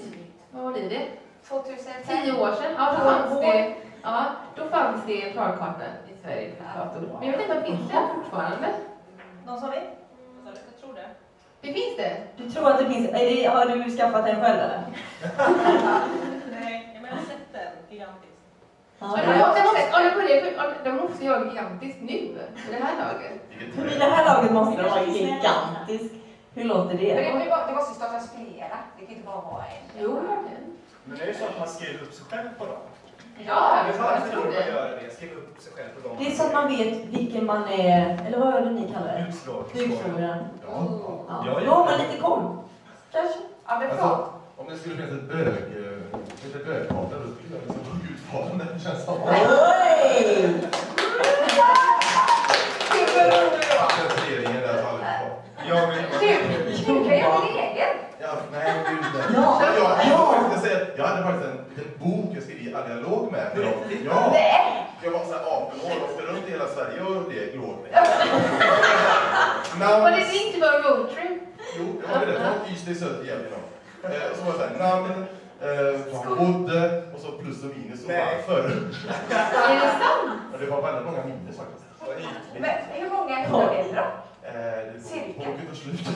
D: vad blir det?
C: 2005.
D: Tio år sedan? Ja, då fanns det, ja, då fanns det parkarta i Sverige på dator. Men jag vet inte, om det finns det här fortfarande?
E: Någon sa vi?
H: Jag tror det.
D: Det finns det?
E: Du tror att det finns, är det, har du skaffat en själv eller?
G: Nej, men jag har sett den gigantisk.
D: Ja, det har jag också sett. Ja, det började för- ja, De måste jag gigantiskt nu, i det här laget.
B: Vilket
E: För vid
B: träd.
E: det här laget måste den vara gigantisk. Hur låter
C: Men det,
E: det?
C: det, var, det måste ju startas flera. Det kan ju inte bara vara en.
D: Jo, verkligen.
F: Men det är ju så att man skriver upp sig själv på dem.
D: Ja,
F: Det är
D: jag
F: varför
D: tror
F: man
D: det.
F: gör det. Skriva upp sig själv på dem.
E: Det är så att man vet vilken man är, eller vad är det ni kallar det?
F: Utfrågning.
E: Bukfrågan.
B: Ja.
E: Ja.
F: Ja,
E: Då har man
F: ja.
E: lite koll. Kanske.
C: Ja, men flat,
B: Alltså, om det skulle finnas ett bög... eh, Ett bögkarta, då skulle jag liksom vara gudfadern. Det känns som...
E: Oj!
B: Placeringen där faller på.
F: Jag vill...
C: du, du kan ju ha en egen.
B: Ja, nej, gud. nej.
E: Ja.
B: Jag, jag, jag, jag, säga, jag hade faktiskt en liten bok jag skrev i alla jag låg med. För dem. Ja, jag var så här 18 år och åkte runt i hela Sverige och det låg med.
D: Var
B: Namn,
D: det inte bara roadtrip?
B: jo, jag var det. Från Ystad till Söder igen. Eh, och så var det så här, namn, eh, var man bodde och så plus och minus och
F: Nej.
B: varför.
D: Är det sant?
B: Och det var väldigt många minus faktiskt.
F: Vad ytligt.
C: Men hur många hundar är det då?
B: Eh, det
C: Cirka.
B: tog inte slut.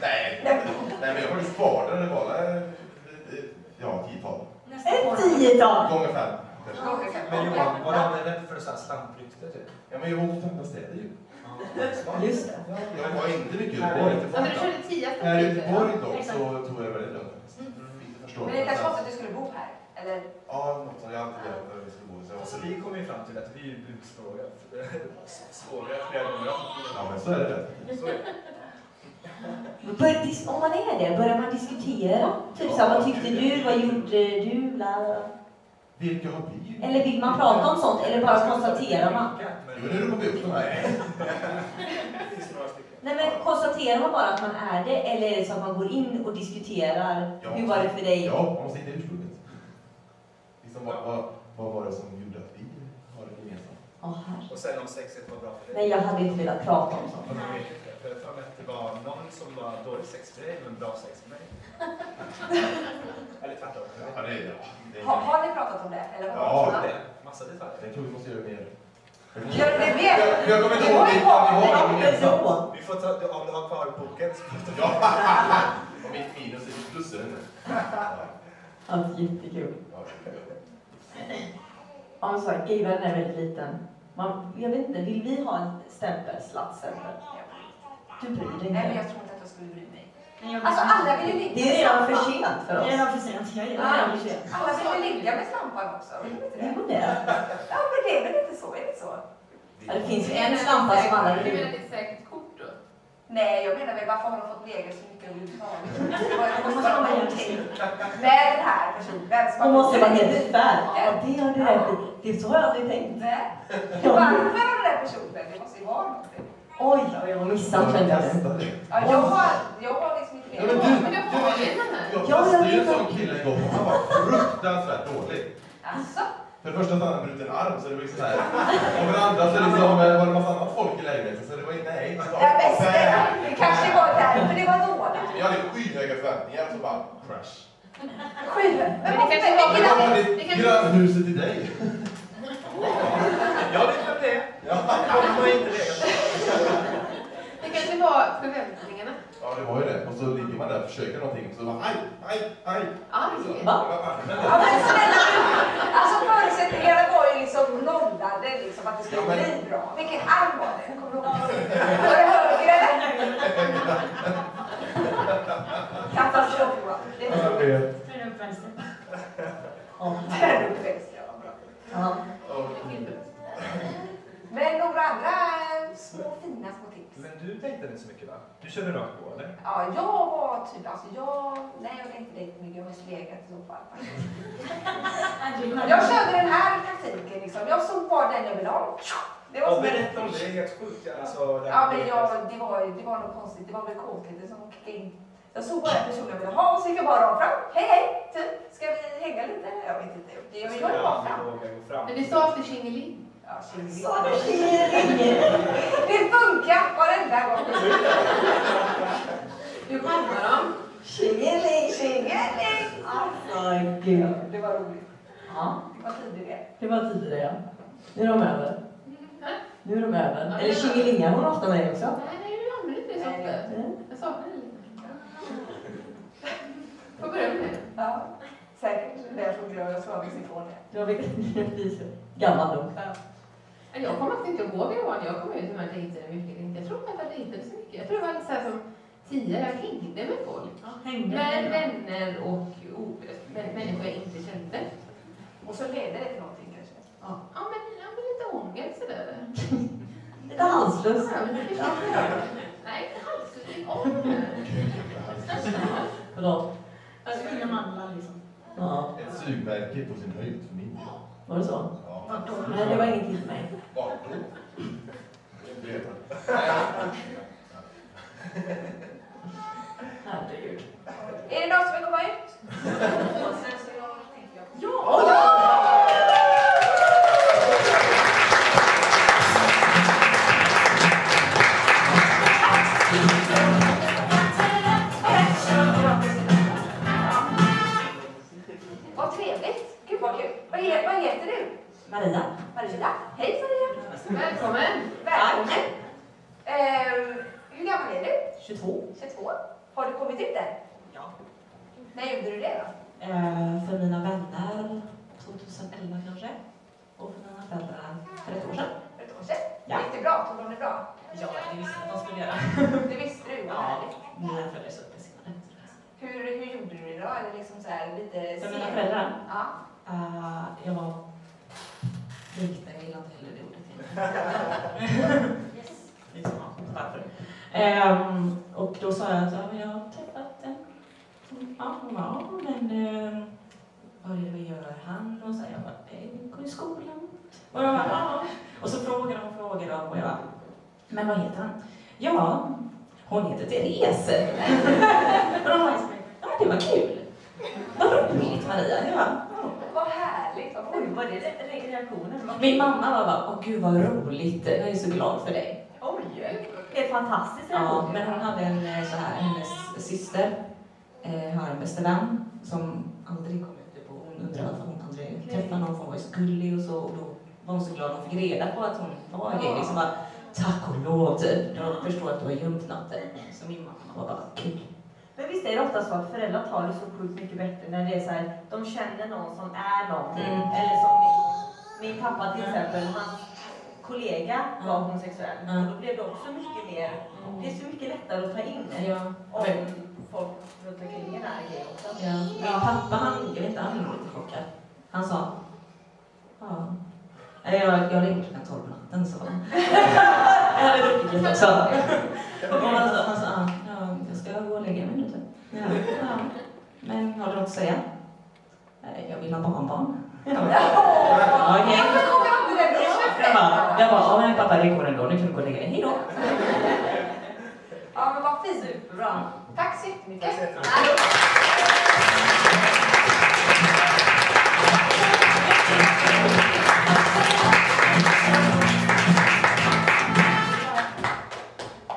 B: Nej, nej, men jag var faktiskt kvar där det var eh, eh, ja, tiotal.
E: Ett tiotal!
B: Gånger fem. kanske.
F: Men Johan, var han rädd för så här slamprykte typ?
B: Ja, men jag var på femta städer ju.
E: Just det.
B: Jag var inte mycket i Göteborg.
D: Ja, men alltså, du körde tio
B: Här i
D: stycken.
B: Göteborg dock så tog jag det väldigt lugnt.
F: Mm.
B: Inte förstår
C: Men det kanske var
B: jag.
C: så att du skulle bo här? Eller?
B: Ja, något som jag alltid velat att vi skulle bo i. Så jag var
F: Alltså
B: så
F: vi kom ju fram till att vi är ju busfråga. Fråga flera gånger
B: Ja, men så är det.
F: Så är det.
E: Bör, dis- om man är det, börjar man diskutera? Typ så här, vad tyckte du? Vad gjorde du? Bla, bla, bla.
B: Vilka har vi?
E: Eller vill man prata om sånt? Eller bara konstaterar man?
B: Jo,
F: Men
B: nu ropar vi upp de här.
F: det finns några stycken.
E: Nej men konstaterar man bara att man är det? Eller är det så att man går in och diskuterar?
B: Ja.
E: Hur var det för dig?
B: Ja, man måste hitta ursprunget. Liksom, vad, vad, vad var det som gjorde att vi har det gemensamt?
E: Åh, herre.
F: Och sen om sexet var bra för dig.
E: Nej, jag hade inte velat prata om sånt.
F: Och man vet inte, för jag har för mig att det var någon som var dålig sex för dig, men bra sex för mig. Eller tvärtom.
B: Ja, det är ja, det.
C: Har,
B: Är,
C: har ni pratat om det? Eller vad?
B: Ja.
F: Det, massa detaljer.
B: jag tror vi måste göra mer.
C: Gör ni
B: Jag,
C: mer?
B: jag kommer inte ihåg vilka vi har
E: Men
B: gemensamt.
E: då?
F: Vi får ta, om du har kvar boken så får du ta
B: Ja, och mitt minus är mitt plus. är det nu.
E: Allt jättekul.
B: Ja,
E: Ja, men så, gayvärlden är väldigt liten. Man, jag vet inte, vill vi ha en stämpel, slattstämpel? Du bryr dig
C: Nej, men
E: inte.
C: jag tror inte att jag skulle bry mig.
H: Men jag-
C: Alltså alla vill ju Ah, ligga
E: Det är redan för sent för
H: Det är
E: oss.
H: redan för sent. Jag Alltså, är
C: Ja.
H: redan för sent.
C: Alla vill ju ligga med slampan också. Vill de inte det?
E: Jo, det är det.
C: Ja, men det är väl inte så? Är det så?
E: Ja, Det finns ju en slampa som alla
D: Du menar
E: vill.
D: att det är ett säkert kort då?
C: Nej, jag menar väl varför har de fått neger så mycket överhuvudtaget? Det
H: Hon
C: måste
H: måste
C: vara
H: vara
C: någonting med den här personen. som
E: Hon måste vara
C: har-
E: nedfärd. Ja, det har du rätt i. Det så har jag aldrig tänkt.
C: Nej. Varför har den här personen? Det måste ju vara någonting.
E: Oj, vad jag har missat kände jag nu.
C: Ja, jag, har, jag har liksom inte
B: Ja, men
C: med.
B: du,
D: Men jag har ju den här.
B: jag
E: Ja, jag
B: testade ju en
E: vet
B: sån kille igår. Han var fruktansvärt dålig.
C: Alltså,
B: För det första så hade han brutit en arm, så det var liksom så här. Och för det andra så liksom, eh, var det massa annat folk i lägenheten, så det var ju nej. Det var
C: det bästa.
B: bad.
C: Det kanske var därför det var dåligt.
B: Jag hade skyhöga förväntningar och så bara crash.
C: Sju. Men
D: Men det kanske var-
B: Det
C: vilken
B: var
D: det
B: det
D: kanske-
B: grannhuset i dig.
F: Jag vet vem det är.
B: Ja.
F: Jag har inte legat
D: Det kanske var förväntningarna.
B: ja, det var ju det. Och så ligger man där och försöker någonting och så bara aj, aj, aj. Så,
D: Arg.
B: det var armen där.
C: Ja men snälla Alltså förutsättningarna var ju liksom nollade liksom att det skulle
B: Ja, men-
C: bli bra. Vilken arm var det? Kommer du ihåg? Var det höger eller? Katastrof va? Det
B: Jag
C: var
B: vet.
H: Träna upp vänster.
E: Ja.
C: terrorväxt, ja, vad bra.
E: Ja.
B: Och-
C: Men några andra eh, små fina små tips?
F: Men du tänkte inte så mycket va? Du körde rakt på eller?
C: Ja, jag var typ, alltså jag, nej jag vet inte riktigt mycket, jag har legat i så fall. faktiskt. Jag körde den här taktiken liksom, jag såg bara den jag ville ha. Det var
F: Ja,
C: som en
F: berätta om det. Det är helt sjukt. Alltså, det
C: Ja,
F: här-
C: men jag, det, var, det var något konstigt. Det var väl kåtheten som kickade in. Jag såg bara en person jag ville ha och så gick jag bara rakt fram. Hej, hej! Typ. Ska vi hänga lite? Jag vet inte. Det- Jag ville bara fram.
F: aldrig våga gå fram.
D: Men det sa för Tjingeling.
C: Ja, tjingeling.
E: Sa du tjingeling?
C: Det funkar varenda gång.
D: Du kommer dem.
E: Tjingeling, tjingeling.
C: Tjingeling!
E: Alltså, gud.
C: Det var roligt.
E: Ja,
C: Det var tidig det.
E: det var tidigare ja. Nu är de över. Nu är de över.
D: Ja,
E: Eller
D: ja.
E: tjingelingar hon ofta med också.
D: Nej, nej, du använder inte det så ofta. Jag saknar det lite. Får börja med det.
C: Ja, säkert. Det jag frågade jag svarade ifrån det.
E: Jag vet inte. Gammal nog.
D: Men Alltså, Jag kommer faktiskt inte ihåg hur det var när jag kom ut med de här dejterna mycket. eller inte. Jag tror inte att jag dejtade så mycket. Jag tror det var lite så här som tio, jag hängde med folk.
H: Hängde.
D: Med vänner och o- med människor jag inte kände.
C: Och så ledde det till någonting kanske.
D: Ja, ja men jag hade lite ångest sådär.
E: Lite halsfluss.
D: Ja, men det förstår jag. Nej, inte alls. Det är ångest.
E: Förlåt.
H: Fina mandlar liksom.
E: Ja,
B: Ett sugmärke på sin höjd för min del.
E: var det så?
B: Ja,
H: Vadå?
E: Nej, det var ingenting för mig.
B: vart då? Det vet jag inte.
E: Herregud.
C: Är det någon som vill komma ut? Vad trevligt! Gud vad kul! Vad heter, vad heter du?
E: Maria.
C: Maria? Hej Maria!
D: Välkommen!
C: Välkommen! Ehm, hur gammal är du?
E: 22.
C: 22? Har du kommit ut än?
E: Ja.
C: När gjorde du det då?
E: Eh, för mina vänner 2011 kanske. Och för mina föräldrar för ett år sedan.
C: För ett år sedan?
E: Ja.
C: Gick det bra? Tog de det bra?
E: Ja, det visste jag att de skulle göra.
C: Det visste du, vad härligt!
E: Mina föräldrar är så uppmärksammade.
C: Hur, hur gjorde du det då? Eller liksom så här lite...
E: För mina
C: sen-
E: föräldrar?
C: Ja.
E: Eh, jag var... Lite, jag gillar inte heller det ordet. Liksom, ja, därför. Ehm, och då sa jag att ja, men jag har träffat en. som- Ja, hon bara, ja, men eh, vad är det vi gör han? Och så här, jag bara, eh, hon går i skolan. Och, jag bara, ja. och så frågade hon, frågade hon och jag bara, men vad heter han? Ja, hon heter Therese. och de bara, ja det var kul. Vad roligt Maria. Jag bara, ja.
C: Vad härligt! Vad
E: Oj,
C: kul!
E: vad är det re- reaktionen? Min mamma var bara, åh gud vad roligt, jag är så glad för dig.
C: Oj!
E: Helt fantastisk
C: reaktion.
E: Ja, men hon hade en eh, så här, hennes syster eh, har en bästa vän som aldrig kom ut på, hon undrade varför hon aldrig träffade någon för hon var ju så gullig och så och då var hon så glad hon fick reda på att hon var det. Liksom bara, Tack och lov typ, jag förstår att du har gömt natten. Så min mamma var bara, gud.
J: Men visst är det ofta så att föräldrar tar det så sjukt mycket bättre när det är så här, de känner någon som är någonting.
E: Mm.
J: Eller som min, min pappa till exempel, hans kollega var
E: Mm.
J: homosexuell.
E: Mm.
J: Och då blev det också mycket mer, det är så mycket lättare att ta in
E: Ja.
J: om folk runt omkring en är gay också.
E: Ja. Min pappa, han, jag vet inte, han blev lite chockad. Han sa... Ja. Nej, Jag, jag ringde klockan tolv på natten, så. jag hade druckit lite också. Och han sa, ska jag gå och lägga mig nu typ.
H: Ja.
E: Ja. Men har du något att säga? Nej, jag vill ha barnbarn. Ja. okej. Jag bara, jag bara, ja men pappa det går ändå, nu kan du gå och lägga dig. Hejdå!
C: Ja, men vad fint. Superbra. Tack så jättemycket.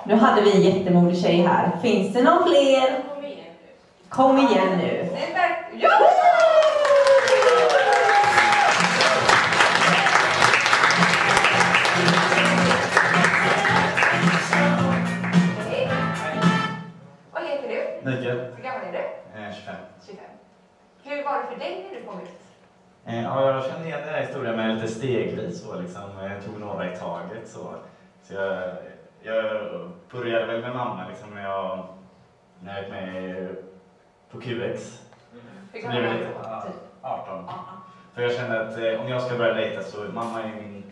J: Nu hade vi en jättemodig tjej här. Finns det någon fler? Kom igen nu.
C: Det är verk- Ja! Hej. Vad heter du?
K: Mikael,
C: Hur gammal är du?
K: eh, 25.
C: 25. Hur var det för dig när du kom ut?
K: Eh, ja, jag kände igen den här historien men lite stegvis. Så liksom, eh, jag tog några i taget. Så, så jag, jag började väl med mamma liksom, när, jag, när jag gick med på QX.
C: Hur
K: Så
C: gammal
K: blev jag
C: var du
K: lite-
C: då?
K: ja,
C: Typ?
K: 18. För jag kände att eh, om jag ska börja dejta så mamma är min,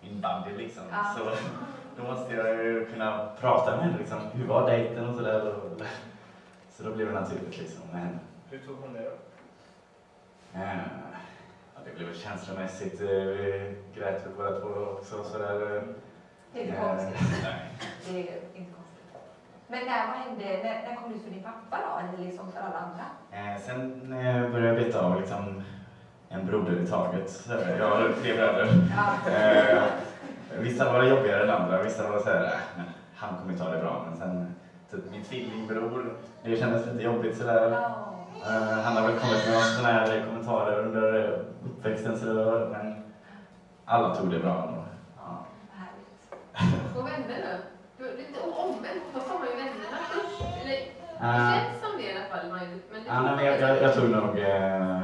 K: min buddy liksom.
C: Ja.
K: Så <laughs> då måste jag ju kunna prata med henne liksom. Hur var dejten och sådär. och- Så då blev det naturligt liksom med henne.
F: Hur tog hon det då?
K: Eh, Ja, det blev väl känslomässigt. eh, Vi grät väl båda två också. Sådär. eh.
C: Det är inte
K: Eh,
C: konstigt.
K: <laughs> nej.
C: Det är inte konstigt. Men när, vad hände, när, när kom du ut för din pappa då? Eller liksom för alla andra?
K: Eh, Sen eh, började jag beta av liksom en broder i taget. Så här, Jag har tre bröder. Eh, Vissa var jobbigare än andra. Vissa var såhär, äh, men han kommer ta det bra. Men sen typ min tvillingbror, det kändes lite jobbigt sådär. Eh, Han har väl kommit med oss sådana här kommentarer under eh, uppväxten sådär. Men alla tog det bra ändå. Ja.
D: Och vännerna? Du- det är Lite omvänt, fast har man ju vännerna först. Eller, det
K: Ah.
D: känns som det i alla fall. Man, men det
K: Ja, nej, men jag, jag, jag tog nog eh,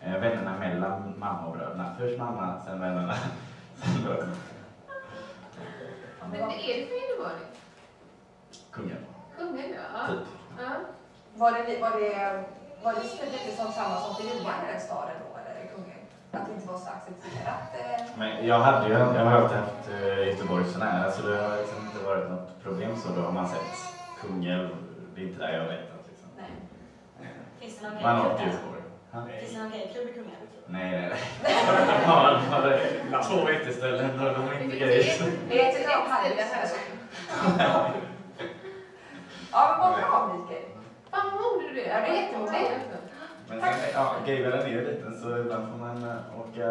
K: eh, vännerna mellan mamma och bröderna. Först mamma, sen vännerna, sen bröderna.
D: Men vad är det för innebandy?
K: Kungen.
D: Kungen, ja.
K: Typ.
D: ja.
C: Var det, var det, var det så lite som samma som för Johan i den staden då, eller i Kungälv? Att det inte var så accepterat? eh?
K: Men jag, hade ju, jag har alltid haft eh, Göteborg så nära så det har liksom inte varit något problem så. Då har man sett Kungälv, det är inte där jag har letat. Liksom.
G: Nej. Finns det någon
K: Man har
G: gayklubb
K: åkt till
G: där?
K: Göteborg. Ha?
G: Finns det typ? någon gayklubb i Kungälv?
K: Nej, nej, nej. Man har två uteställen och de är inte grejer.
C: Det är ett enormt handelsmässigt. Ja, men vad bra Mikael.
D: Fan vad modig du
C: Ja,
D: är.
C: du är jättemodig.
K: Men sen, ja, gayvärlden är ju liten så ibland får man eh, åka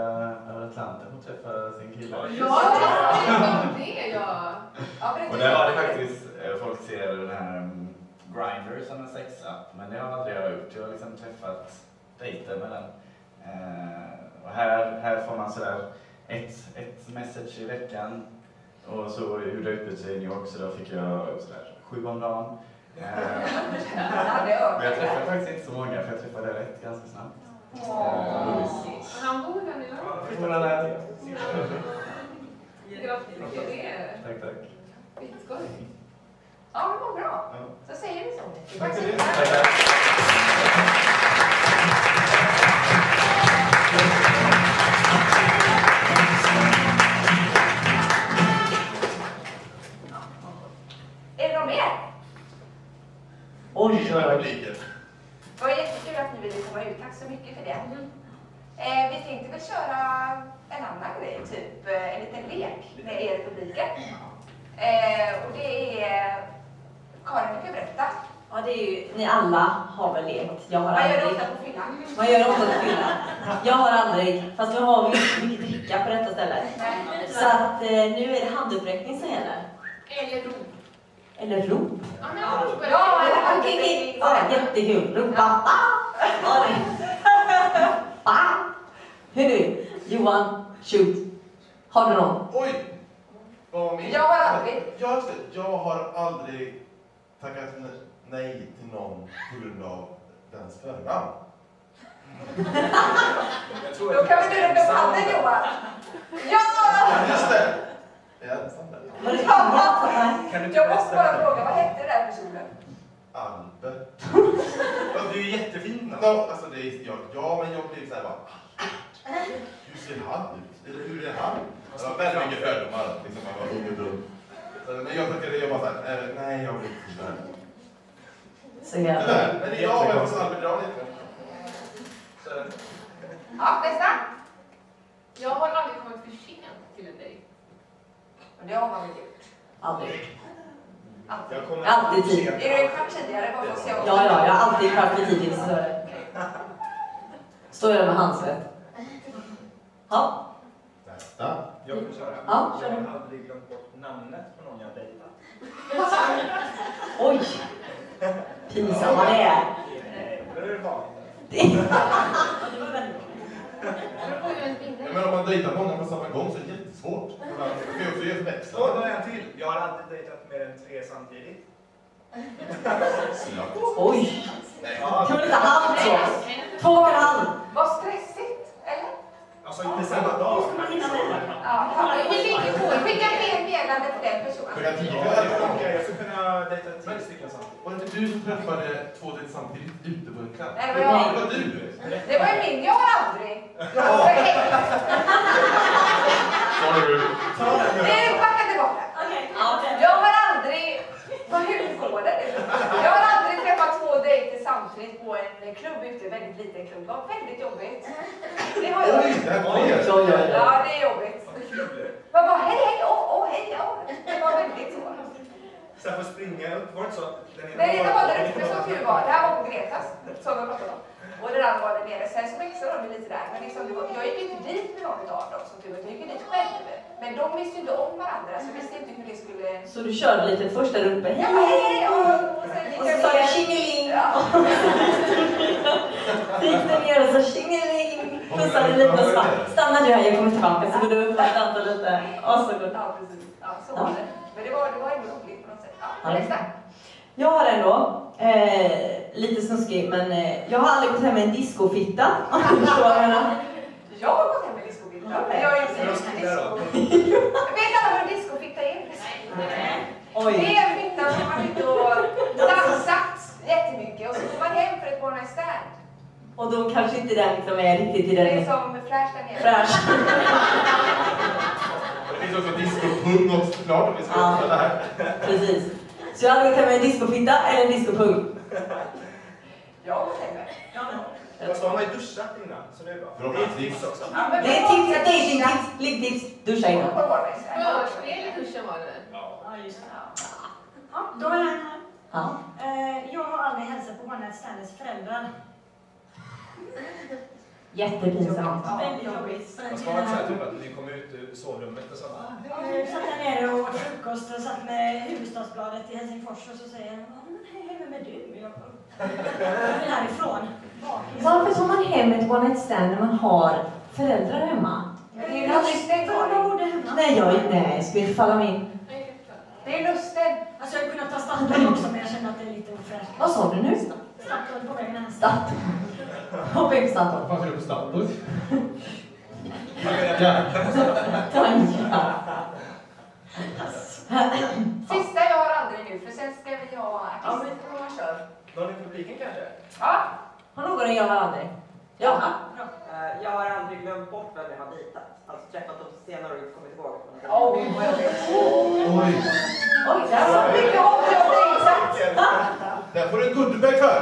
K: över Atlanten och träffa sin kille.
D: Ja, det är som det ja.
C: Ja, berätta.
K: Och där var det faktiskt, eh, folk ser den här mm, Grindr som en sexapp, men det har aldrig jag gjort. Jag har liksom träffat dejter med den. Eh, och här, här får man sådär ett, ett message i veckan. Och så gjorde jag utbyte i New York så då fick jag sådär sju om dagen.
C: <laughs>
K: Eh,
C: Ja, det är
K: men jag träffade faktiskt inte så många för jag träffade rätt ganska snabbt.
D: Åh. Men han bor här nu va?
K: Hur går den här?
D: Grattis till det.
K: Tack, tack.
D: Skitskoj.
C: Ja, men vad bra. Så säger vi så.
K: Tack så
C: mycket.
K: mycket.
C: Är det någon mer?
B: Oj, vad publiken.
C: Det var jättekul att ni ville komma ut. Tack så mycket för det. Eh, vi tänkte väl köra en annan grej, typ eh, en liten lek med er i publiken. Eh, och det är... Karin, du kan berätta.
J: Ja, det är ju, ni alla har väl lekt. Jag har
C: Vad gör du
J: aldrig.
C: ofta på fyllan?
J: Man gör ofta på fyllan. Jag har aldrig, fast nu har vi ju inte så mycket dricka på detta stället. Så att eh, nu är det handuppräckning som gäller.
D: Eller rop.
J: Eller rop.
D: Ja, men jag ropar.
C: Ja, eller
J: Okej,
C: handkrig.
J: okej. Ja, jättekul. Ropa. Ah! Ja, det- Ah! Hur nu? Johan, shoot. Har du någon?
B: Oj! Vad min...
C: Jag har aldrig-
B: Ja, just det. jag har aldrig tackat ne- nej till någon på grund av dens förnamn.
F: Jag tror
C: Då
F: att
C: kan vi
F: jag
C: dra upp handen Johan. Ja!
B: Ja, Just det! Jag är ensam där.
J: Var det-
F: Kan du inte
C: Jag måste bara
F: berätta?
C: fråga, vad hette den personen?
B: Albert.
F: Ja, Du är jättefin.
B: No, alltså det är, jag, ja, men jag blev såhär bara... Hur ser han ut? Eller hur är han? Det var väldigt mycket fördomar. Liksom, man var ung och dum. Så, men jag tackade, jag bara såhär, eh, nej jag vill inte förstå det.
E: Så jag...
B: Tyvärr, men jag har varit på salmidral lite. Så,
C: Ja, nästa.
D: Jag har aldrig kommit för sent till en dejt.
C: Och det har man väl gjort?
E: Aldrig.
C: Alltid.
F: Jag kommer
E: Alltid tid.
C: Är du en kvart tidigare bara för att se
E: Ja, ja, jag har alltid kvart för tidigt. Så är det. Står jag där med handsvett. Ja,
B: Nästa.
F: Jag kan köra.
E: Ja, kör
F: jag
E: du.
F: har aldrig glömt bort namnet på någon jag dejtat.
E: oj. Pinsam vad det är.
F: Nej, det är vanligt.
D: Jag får ju en binda.
B: Men om man dejtar många på samma gång så är det jättesvårt. Det kan ju också ge
F: Så, då
B: förväxlingar.
F: har jag en till. Jag har aldrig dejtat mer än tre samtidigt.
E: Oj.
F: Ja,
E: Kan man inte halvt så? Två och en halv.
C: Vad stressigt, eller?
F: alltså inte samma dag.
C: Ja, fan, vi ligger på. Skicka med meddelande till den
B: Klockan
C: personen.
B: tio
F: Ja,
B: kväll.
F: det funkar. Jag skulle kunna dejta tio stycken samtidigt.
B: Var det inte du som träffade två dejter samtidigt ute på en kväll?
C: Nej, det var
B: det
C: jag.
B: var du.
C: Det var ju min. Jag har aldrig. Jag har förhängt.
B: Sorry.
F: Ta den nu.
C: Nu, backa tillbaka.
L: Okej, ja, den.
C: Jag har aldrig... Vad hur går det? Jag har aldrig träffat två dejter samtidigt på en klubb ute, en väldigt liten klubb. Det var väldigt jobbigt. Det har jag.
B: Oj, det här var det.
E: Oj, oj, oj.
C: Ja, det är jobbigt.
F: Vad kul.
C: Man bara hej, hej, åh, åh, hej, åh. Det var väldigt så.
F: Sen får springa upp. Var det så att den ena
C: Den ena var där uppe
F: den andra
C: som tur var. Det här var på Gretas, som jag pratade om. Och den andra var där nere. Sen så växlade de lite där. Men liksom, det var, jag gick inte dit med någon av dem som tur var. Jag gick ju dit själv. Men de visste ju inte om varandra, så jag visste inte hur det skulle
E: Så du körde lite först där uppe.
C: Jag bara, hej, och sen
E: Och
C: gick
E: så
C: jag
E: sa du
C: ner.
E: tjingeling.
C: Ja.
E: Så gick du ner och sa tjingeling. Pussade lite och sa stanna du här, jag kommer tillbaka. Så går du upp och dansar lite. Och så går du.
C: Ja, precis. Ja, så var det. Men det var, det var ändå roligt på något sätt. Ja,
E: Ja.
C: nästa.
E: Jag har en då. Eh, lite snuskig, men eh, jag har aldrig gått hem med en discofitta. <laughs> Om du förstår vad jag menar.
C: Jag har gått hem med discofitta. Men jag är inte
F: För oss killar då?
C: Vet alla vad en discofitta är? Det
E: Oj.
C: är en fitta som man inte har dansat jättemycket och så går man hem för ett one night stand.
E: Och då kanske inte den liksom är riktigt i
C: Det är
E: den
C: som flash där nere.
E: fräsch.
B: Det finns också discopung också såklart om vi ska
E: Ja.
B: göra det här.
E: Precis. Så jag har aldrig gått hem med en discofitta eller en discopung.
C: Jag har gått hem med.
F: Fast då har man ju duschat innan, så det är bra.
B: Förhoppningsvis.
F: också.
C: Ja, men
E: Det är
C: på något
E: tips,
C: sätt
E: datingtips,
C: känns
E: liggtips, duscha
C: det
E: innan.
C: på one night stand.
D: Förspel i duschen var det.
F: Ja.
L: Ja, just det.
G: Ja, då är jag här.
E: Ja.
G: Eh, Jag har aldrig hälsat på One Night Stands föräldrar.
E: Jättepinsamt.
C: Ja.
G: Väldigt jobbigt.
F: Fast var det inte så här typ att ni kom ut ur sovrummet och så bara,
G: Eh, Satt jag nere och åt frukost och satt med Hufvudstadsbladet i Helsingfors och så säger han "Ja, men hej, vem är du? Jag bara, jag vill härifrån. Eh, Bakis.
E: Varför tar man hem ett one night stand när man har föräldrar hemma?
C: Men det är ju lusten,
G: För
C: Karin.
G: jag bodde hemma.
E: Nej, jag nej, jag skulle falla min.
C: Det är lusten.
G: Alltså jag hade kunnat ta Statoil också men jag kände att det är lite ofräscht.
E: Vad sa du nu?
G: Statoil på vägen hem.
E: Statt. Hoppa in på
B: Vad
E: Statoil.
B: fan ska du på Statoil?
E: Tankar.
C: Sista jag har aldrig nu, för sen ska vi ha
F: Ja,
C: artist.
F: men-
C: Ja, man kör.
F: någon i publiken kanske?
C: Ja,
E: Har någon jag har aldrig? Ja.
M: Eh, Jag har aldrig glömt bort vem jag har dejtat. Alltså träffat dem senare och inte kommit ihåg. att man har dejtat.
C: Oj, vad jag vet.
B: Oj,
E: Oj, där var
C: Så mycket hopp jag har dejtat.
B: där får du en Guldbäck för!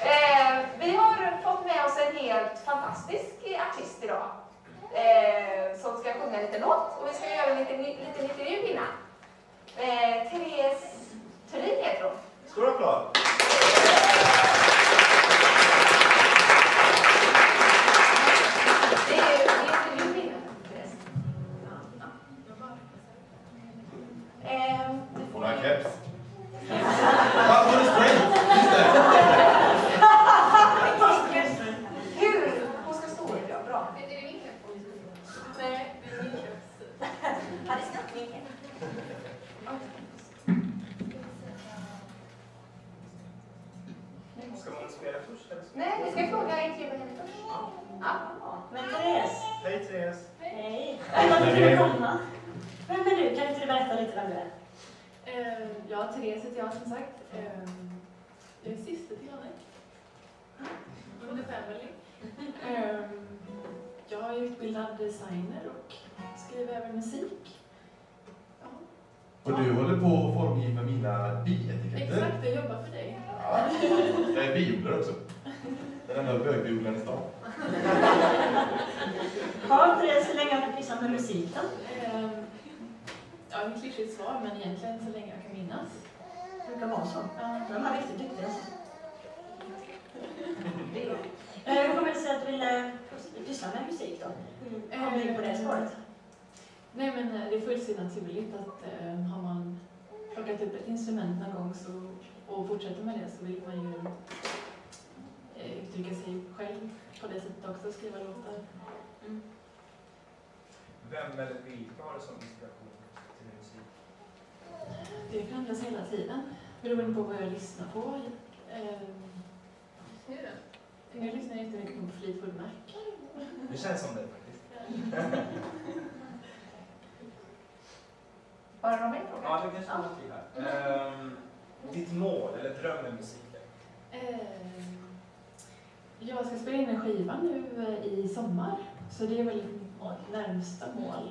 C: Eh, Vi har fått med oss en helt fantastisk artist idag. Eh, som ska sjunga lite låt och vi ska göra en liten, liten intervju innan. Eh, Therese Thulin heter hon.
F: Stor applåd!
C: Det är ju en intervju innan Therese. Eh, du får-
B: Hon har keps. Vad får du spray? Just det.
C: Hur? Hon ska stå upp, ja. Bra.
D: Är det min keps? Nej, det är min keps.
L: Hade snabbt vinkel.
F: Ska man spela först eller? så?
C: Nej, vi ska fråga intervjua henne först. Ja.
G: Men Therese,
F: Hej Therese!
G: hej. Välkommen till Bromma. Vem är du? Kan inte du berätta lite vem du är?
D: Eh, Ja, Therese heter jag som sagt. Eh, Jag är syster till Anette. Hon är family. Eh, Jag är utbildad designer och skriver även musik.
B: Och du håller på att formgiva mina bietiketter.
D: Exakt, jag jobbar för dig.
B: Ja. Jag är biodlare också. Den enda bögbiodlaren i stan.
G: Ja, Therese, hur länge har du pysslat med musik då?
D: Ehm, Ja, det är ett klyschigt svar, men egentligen så länge jag kan minnas.
G: Det brukar vara så. De är riktigt duktiga. alltså. Eh, Hur kommer det sig att du ville eh, pyssla med musik då? Hur kom du in på det spåret?
D: Ehm, Nej, men eh, det är fullt så naturligt att eh, har man plockat upp ett instrument någon gång så, och fortsätter med det så vill man ju eh, uttrycka sig själv på det sättet också, skriva låtar. Mm.
F: Vem eller vilka har du som inspiration till din musik?
D: Det förändras hela tiden beroende på vad jag lyssnar på. Ehm,
N: Nu då?
D: Jag lyssnar jättemycket på Fleetwood Mac.
F: Det känns som det faktiskt.
C: Var det någon mer fråga?
F: ja, det kanske är något i här. Um, ditt mål eller dröm med musiken?
D: Ehm, Jag ska spela in en skiva nu eh, i sommar, så det är väl mitt närmsta mål.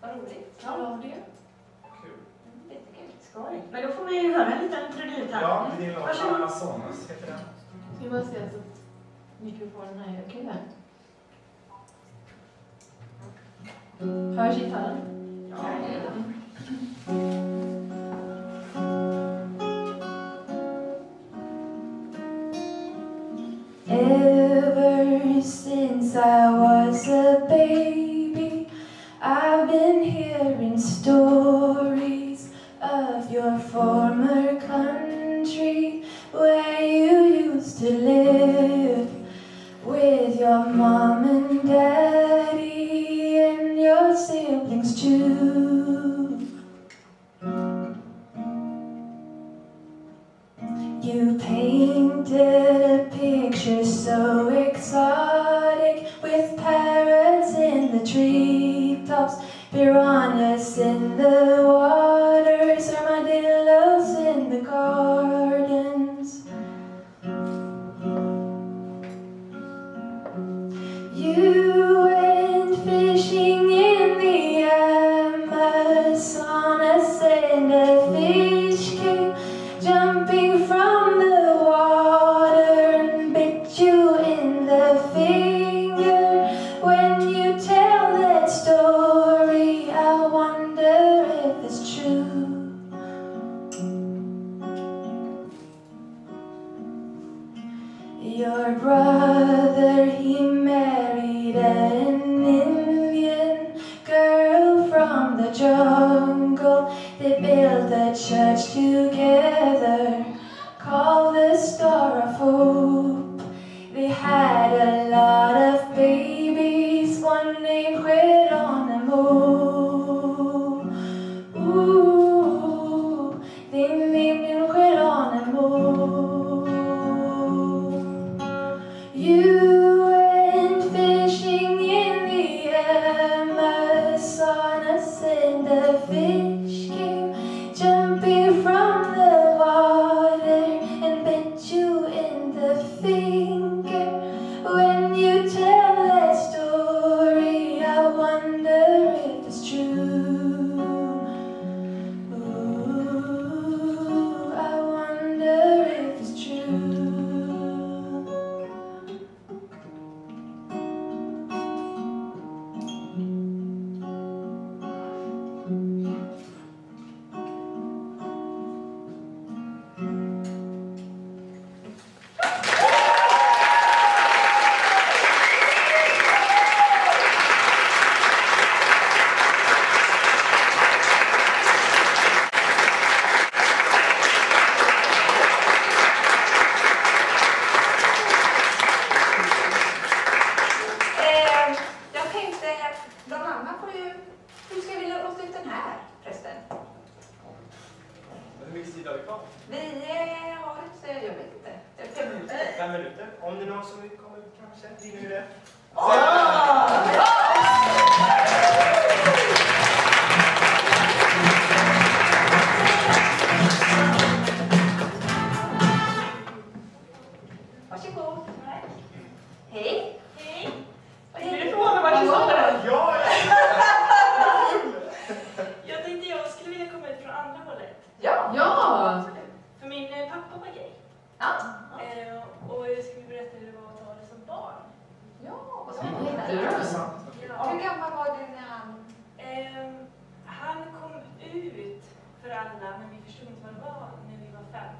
C: Vad roligt.
D: Ja, det.
F: Kul.
C: Jättekul.
G: Skoj. Men då får vi ju höra en liten trudelutt här.
F: Ja, det är låten
G: Varsågod.
F: Amazonas heter den.
D: Ska vi bara se så att mikrofonen här är okej där. Hörs gitarren? Ja.
M: Ever since I was a baby, I've been hearing stories of your former country where you used to live with your mom and daddy and your siblings too. You painted a picture so exotic with parrots in the treetops, piranhas in the waters, armadillos in the gardens. You went fishing in the Amazonas and a fish came jumping from the water and bit you in the finger. When you tell that story, I wonder if it's true. Your brother, he married an Indian girl from the jungle. They built a church together called the Star of Hope. They had a lot of babies, one named Geronimo. Ooh, they named him Geronimo. You went fishing in the Amazonas and the fish came jumping from the water and bit you in the finger. When you tell that story, I wonder if it's true. Ooh, I wonder if it's true.
C: Eh, jag tänkte, bland annat på ju, hur ska vi låta ut den här förresten?
F: Hur mycket tid har vi kvar?
C: Vi eh, har ett, eh, jag vet inte, det är fem minuter.
F: Fem minuter. Om det är någon som vill komma ut kanske, hinner vi det?
C: Varsågod. Hej. Hej.
G: eh,
O: Ehm, för alla, men vi förstod inte vad det var när vi var fem.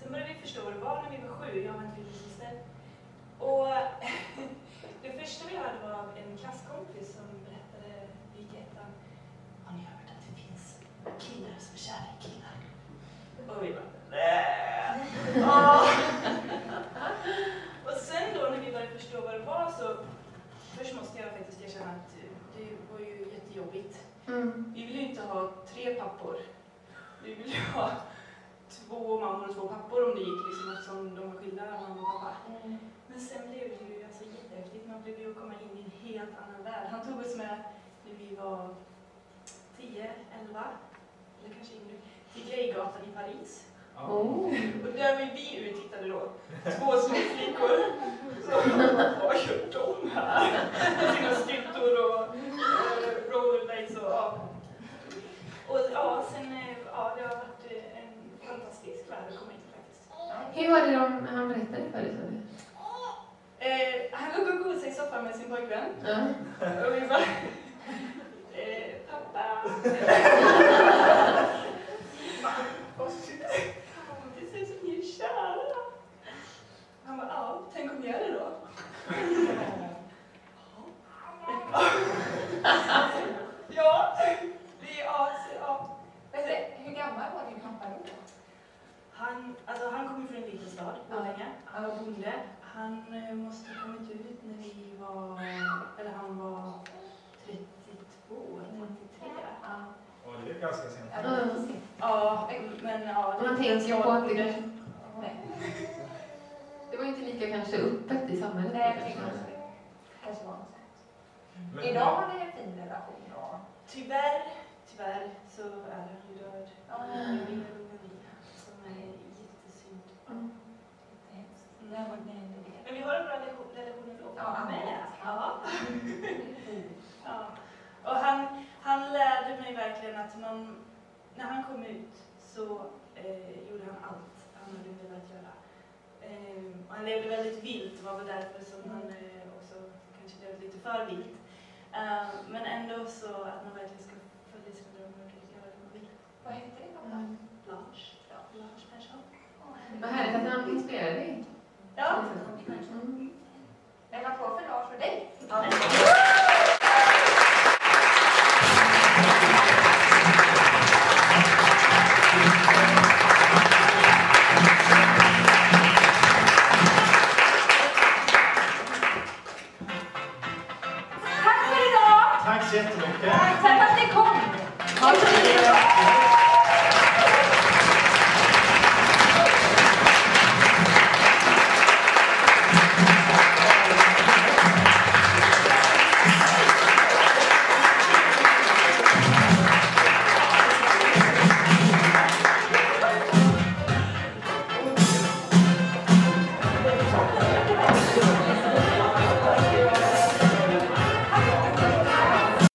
O: Sen började vi förstå vad det var när vi var sju, jag och min tvillingsyster. Och <laughs> det första vi hörde var av en klasskompis som berättade, vi gick i ettan, har ni hört att det finns killar som är kära i killar? Och vi bara, nej! Ah. och sen då när vi började förstå vad det var så, först måste jag faktiskt erkänna att eh, det var ju jättejobbigt. Vi vill ju inte ha tre pappor. Vi vill ju ha två mammor och två pappor om det gick, liksom, eftersom de var skilda, mamma och pappa. Men sen blev det ju alltså jättehäftigt. Man blev ju att komma in i en helt annan värld. Han tog oss med när vi var 10, 11, eller kanske yngre, till Grejgatan i Paris.
P: Oh.
O: Och där var vi uttittade då, två små flickor. Så, vad gör de här? Med sina styltor och eh, rollerblades och ja. Och ja, sen, eh, ja, det har varit eh, en fantastisk värld att komma in i faktiskt.
Q: Hur var det de, han berättade för dig? sa du?
O: Eh, han låg och gosade i soffan med sin pojkvän.
Q: Ja.
O: Och vi bara... Eh, pappa. Åh, shit. Det ser ut som ni är kära. Han bara, ja, tänk om jag är det då? Ja, det är as... Ja.
A: Men det- Hur gammal var din pappa då?
O: Han, alltså, han kommer från en liten stad, Borlänge. Han var bonde. Han eh, måste ha kommit ut när vi var... Eller han var 32, 33.
F: Ja, det är ganska sent.
O: Ja, Ja, men ja...
Q: Man
O: det-
Q: tänker ju på att det,
O: Nej.
Q: det var ju inte lika kanske öppet i samhället.
A: Nej, jag tycker också det. Kanske var något sånt. Idag har ni en fin relation då?
O: Tyvärr, tyvärr så är han ju död. Jag vill som är jättesynd.
A: Jättehemskt. När var det hände det?
O: Men vi har en bra relation- relation ändå.
A: Ja,
O: Men, ja.
A: Mm.
O: ja. Och han, han lärde mig verkligen att man, när han kom ut så eh, gjorde han allt han hade velat göra. Ehm, och han levde väldigt vilt, var väl därför som han eh, också kanske levde lite för vilt. Ehm, men ändå så att man verkligen ska följa sina drömmar och göra det man vill.
A: Vad heter din pappa?
O: Lars. Lars Persson.
Q: Vad härligt att han inspirerade dig.
O: Ja.
Q: Mm.
A: En applåd för Lars och dig.
F: Tack så jättemycket.
A: Tack för att ni kom!
F: Ha det så bra.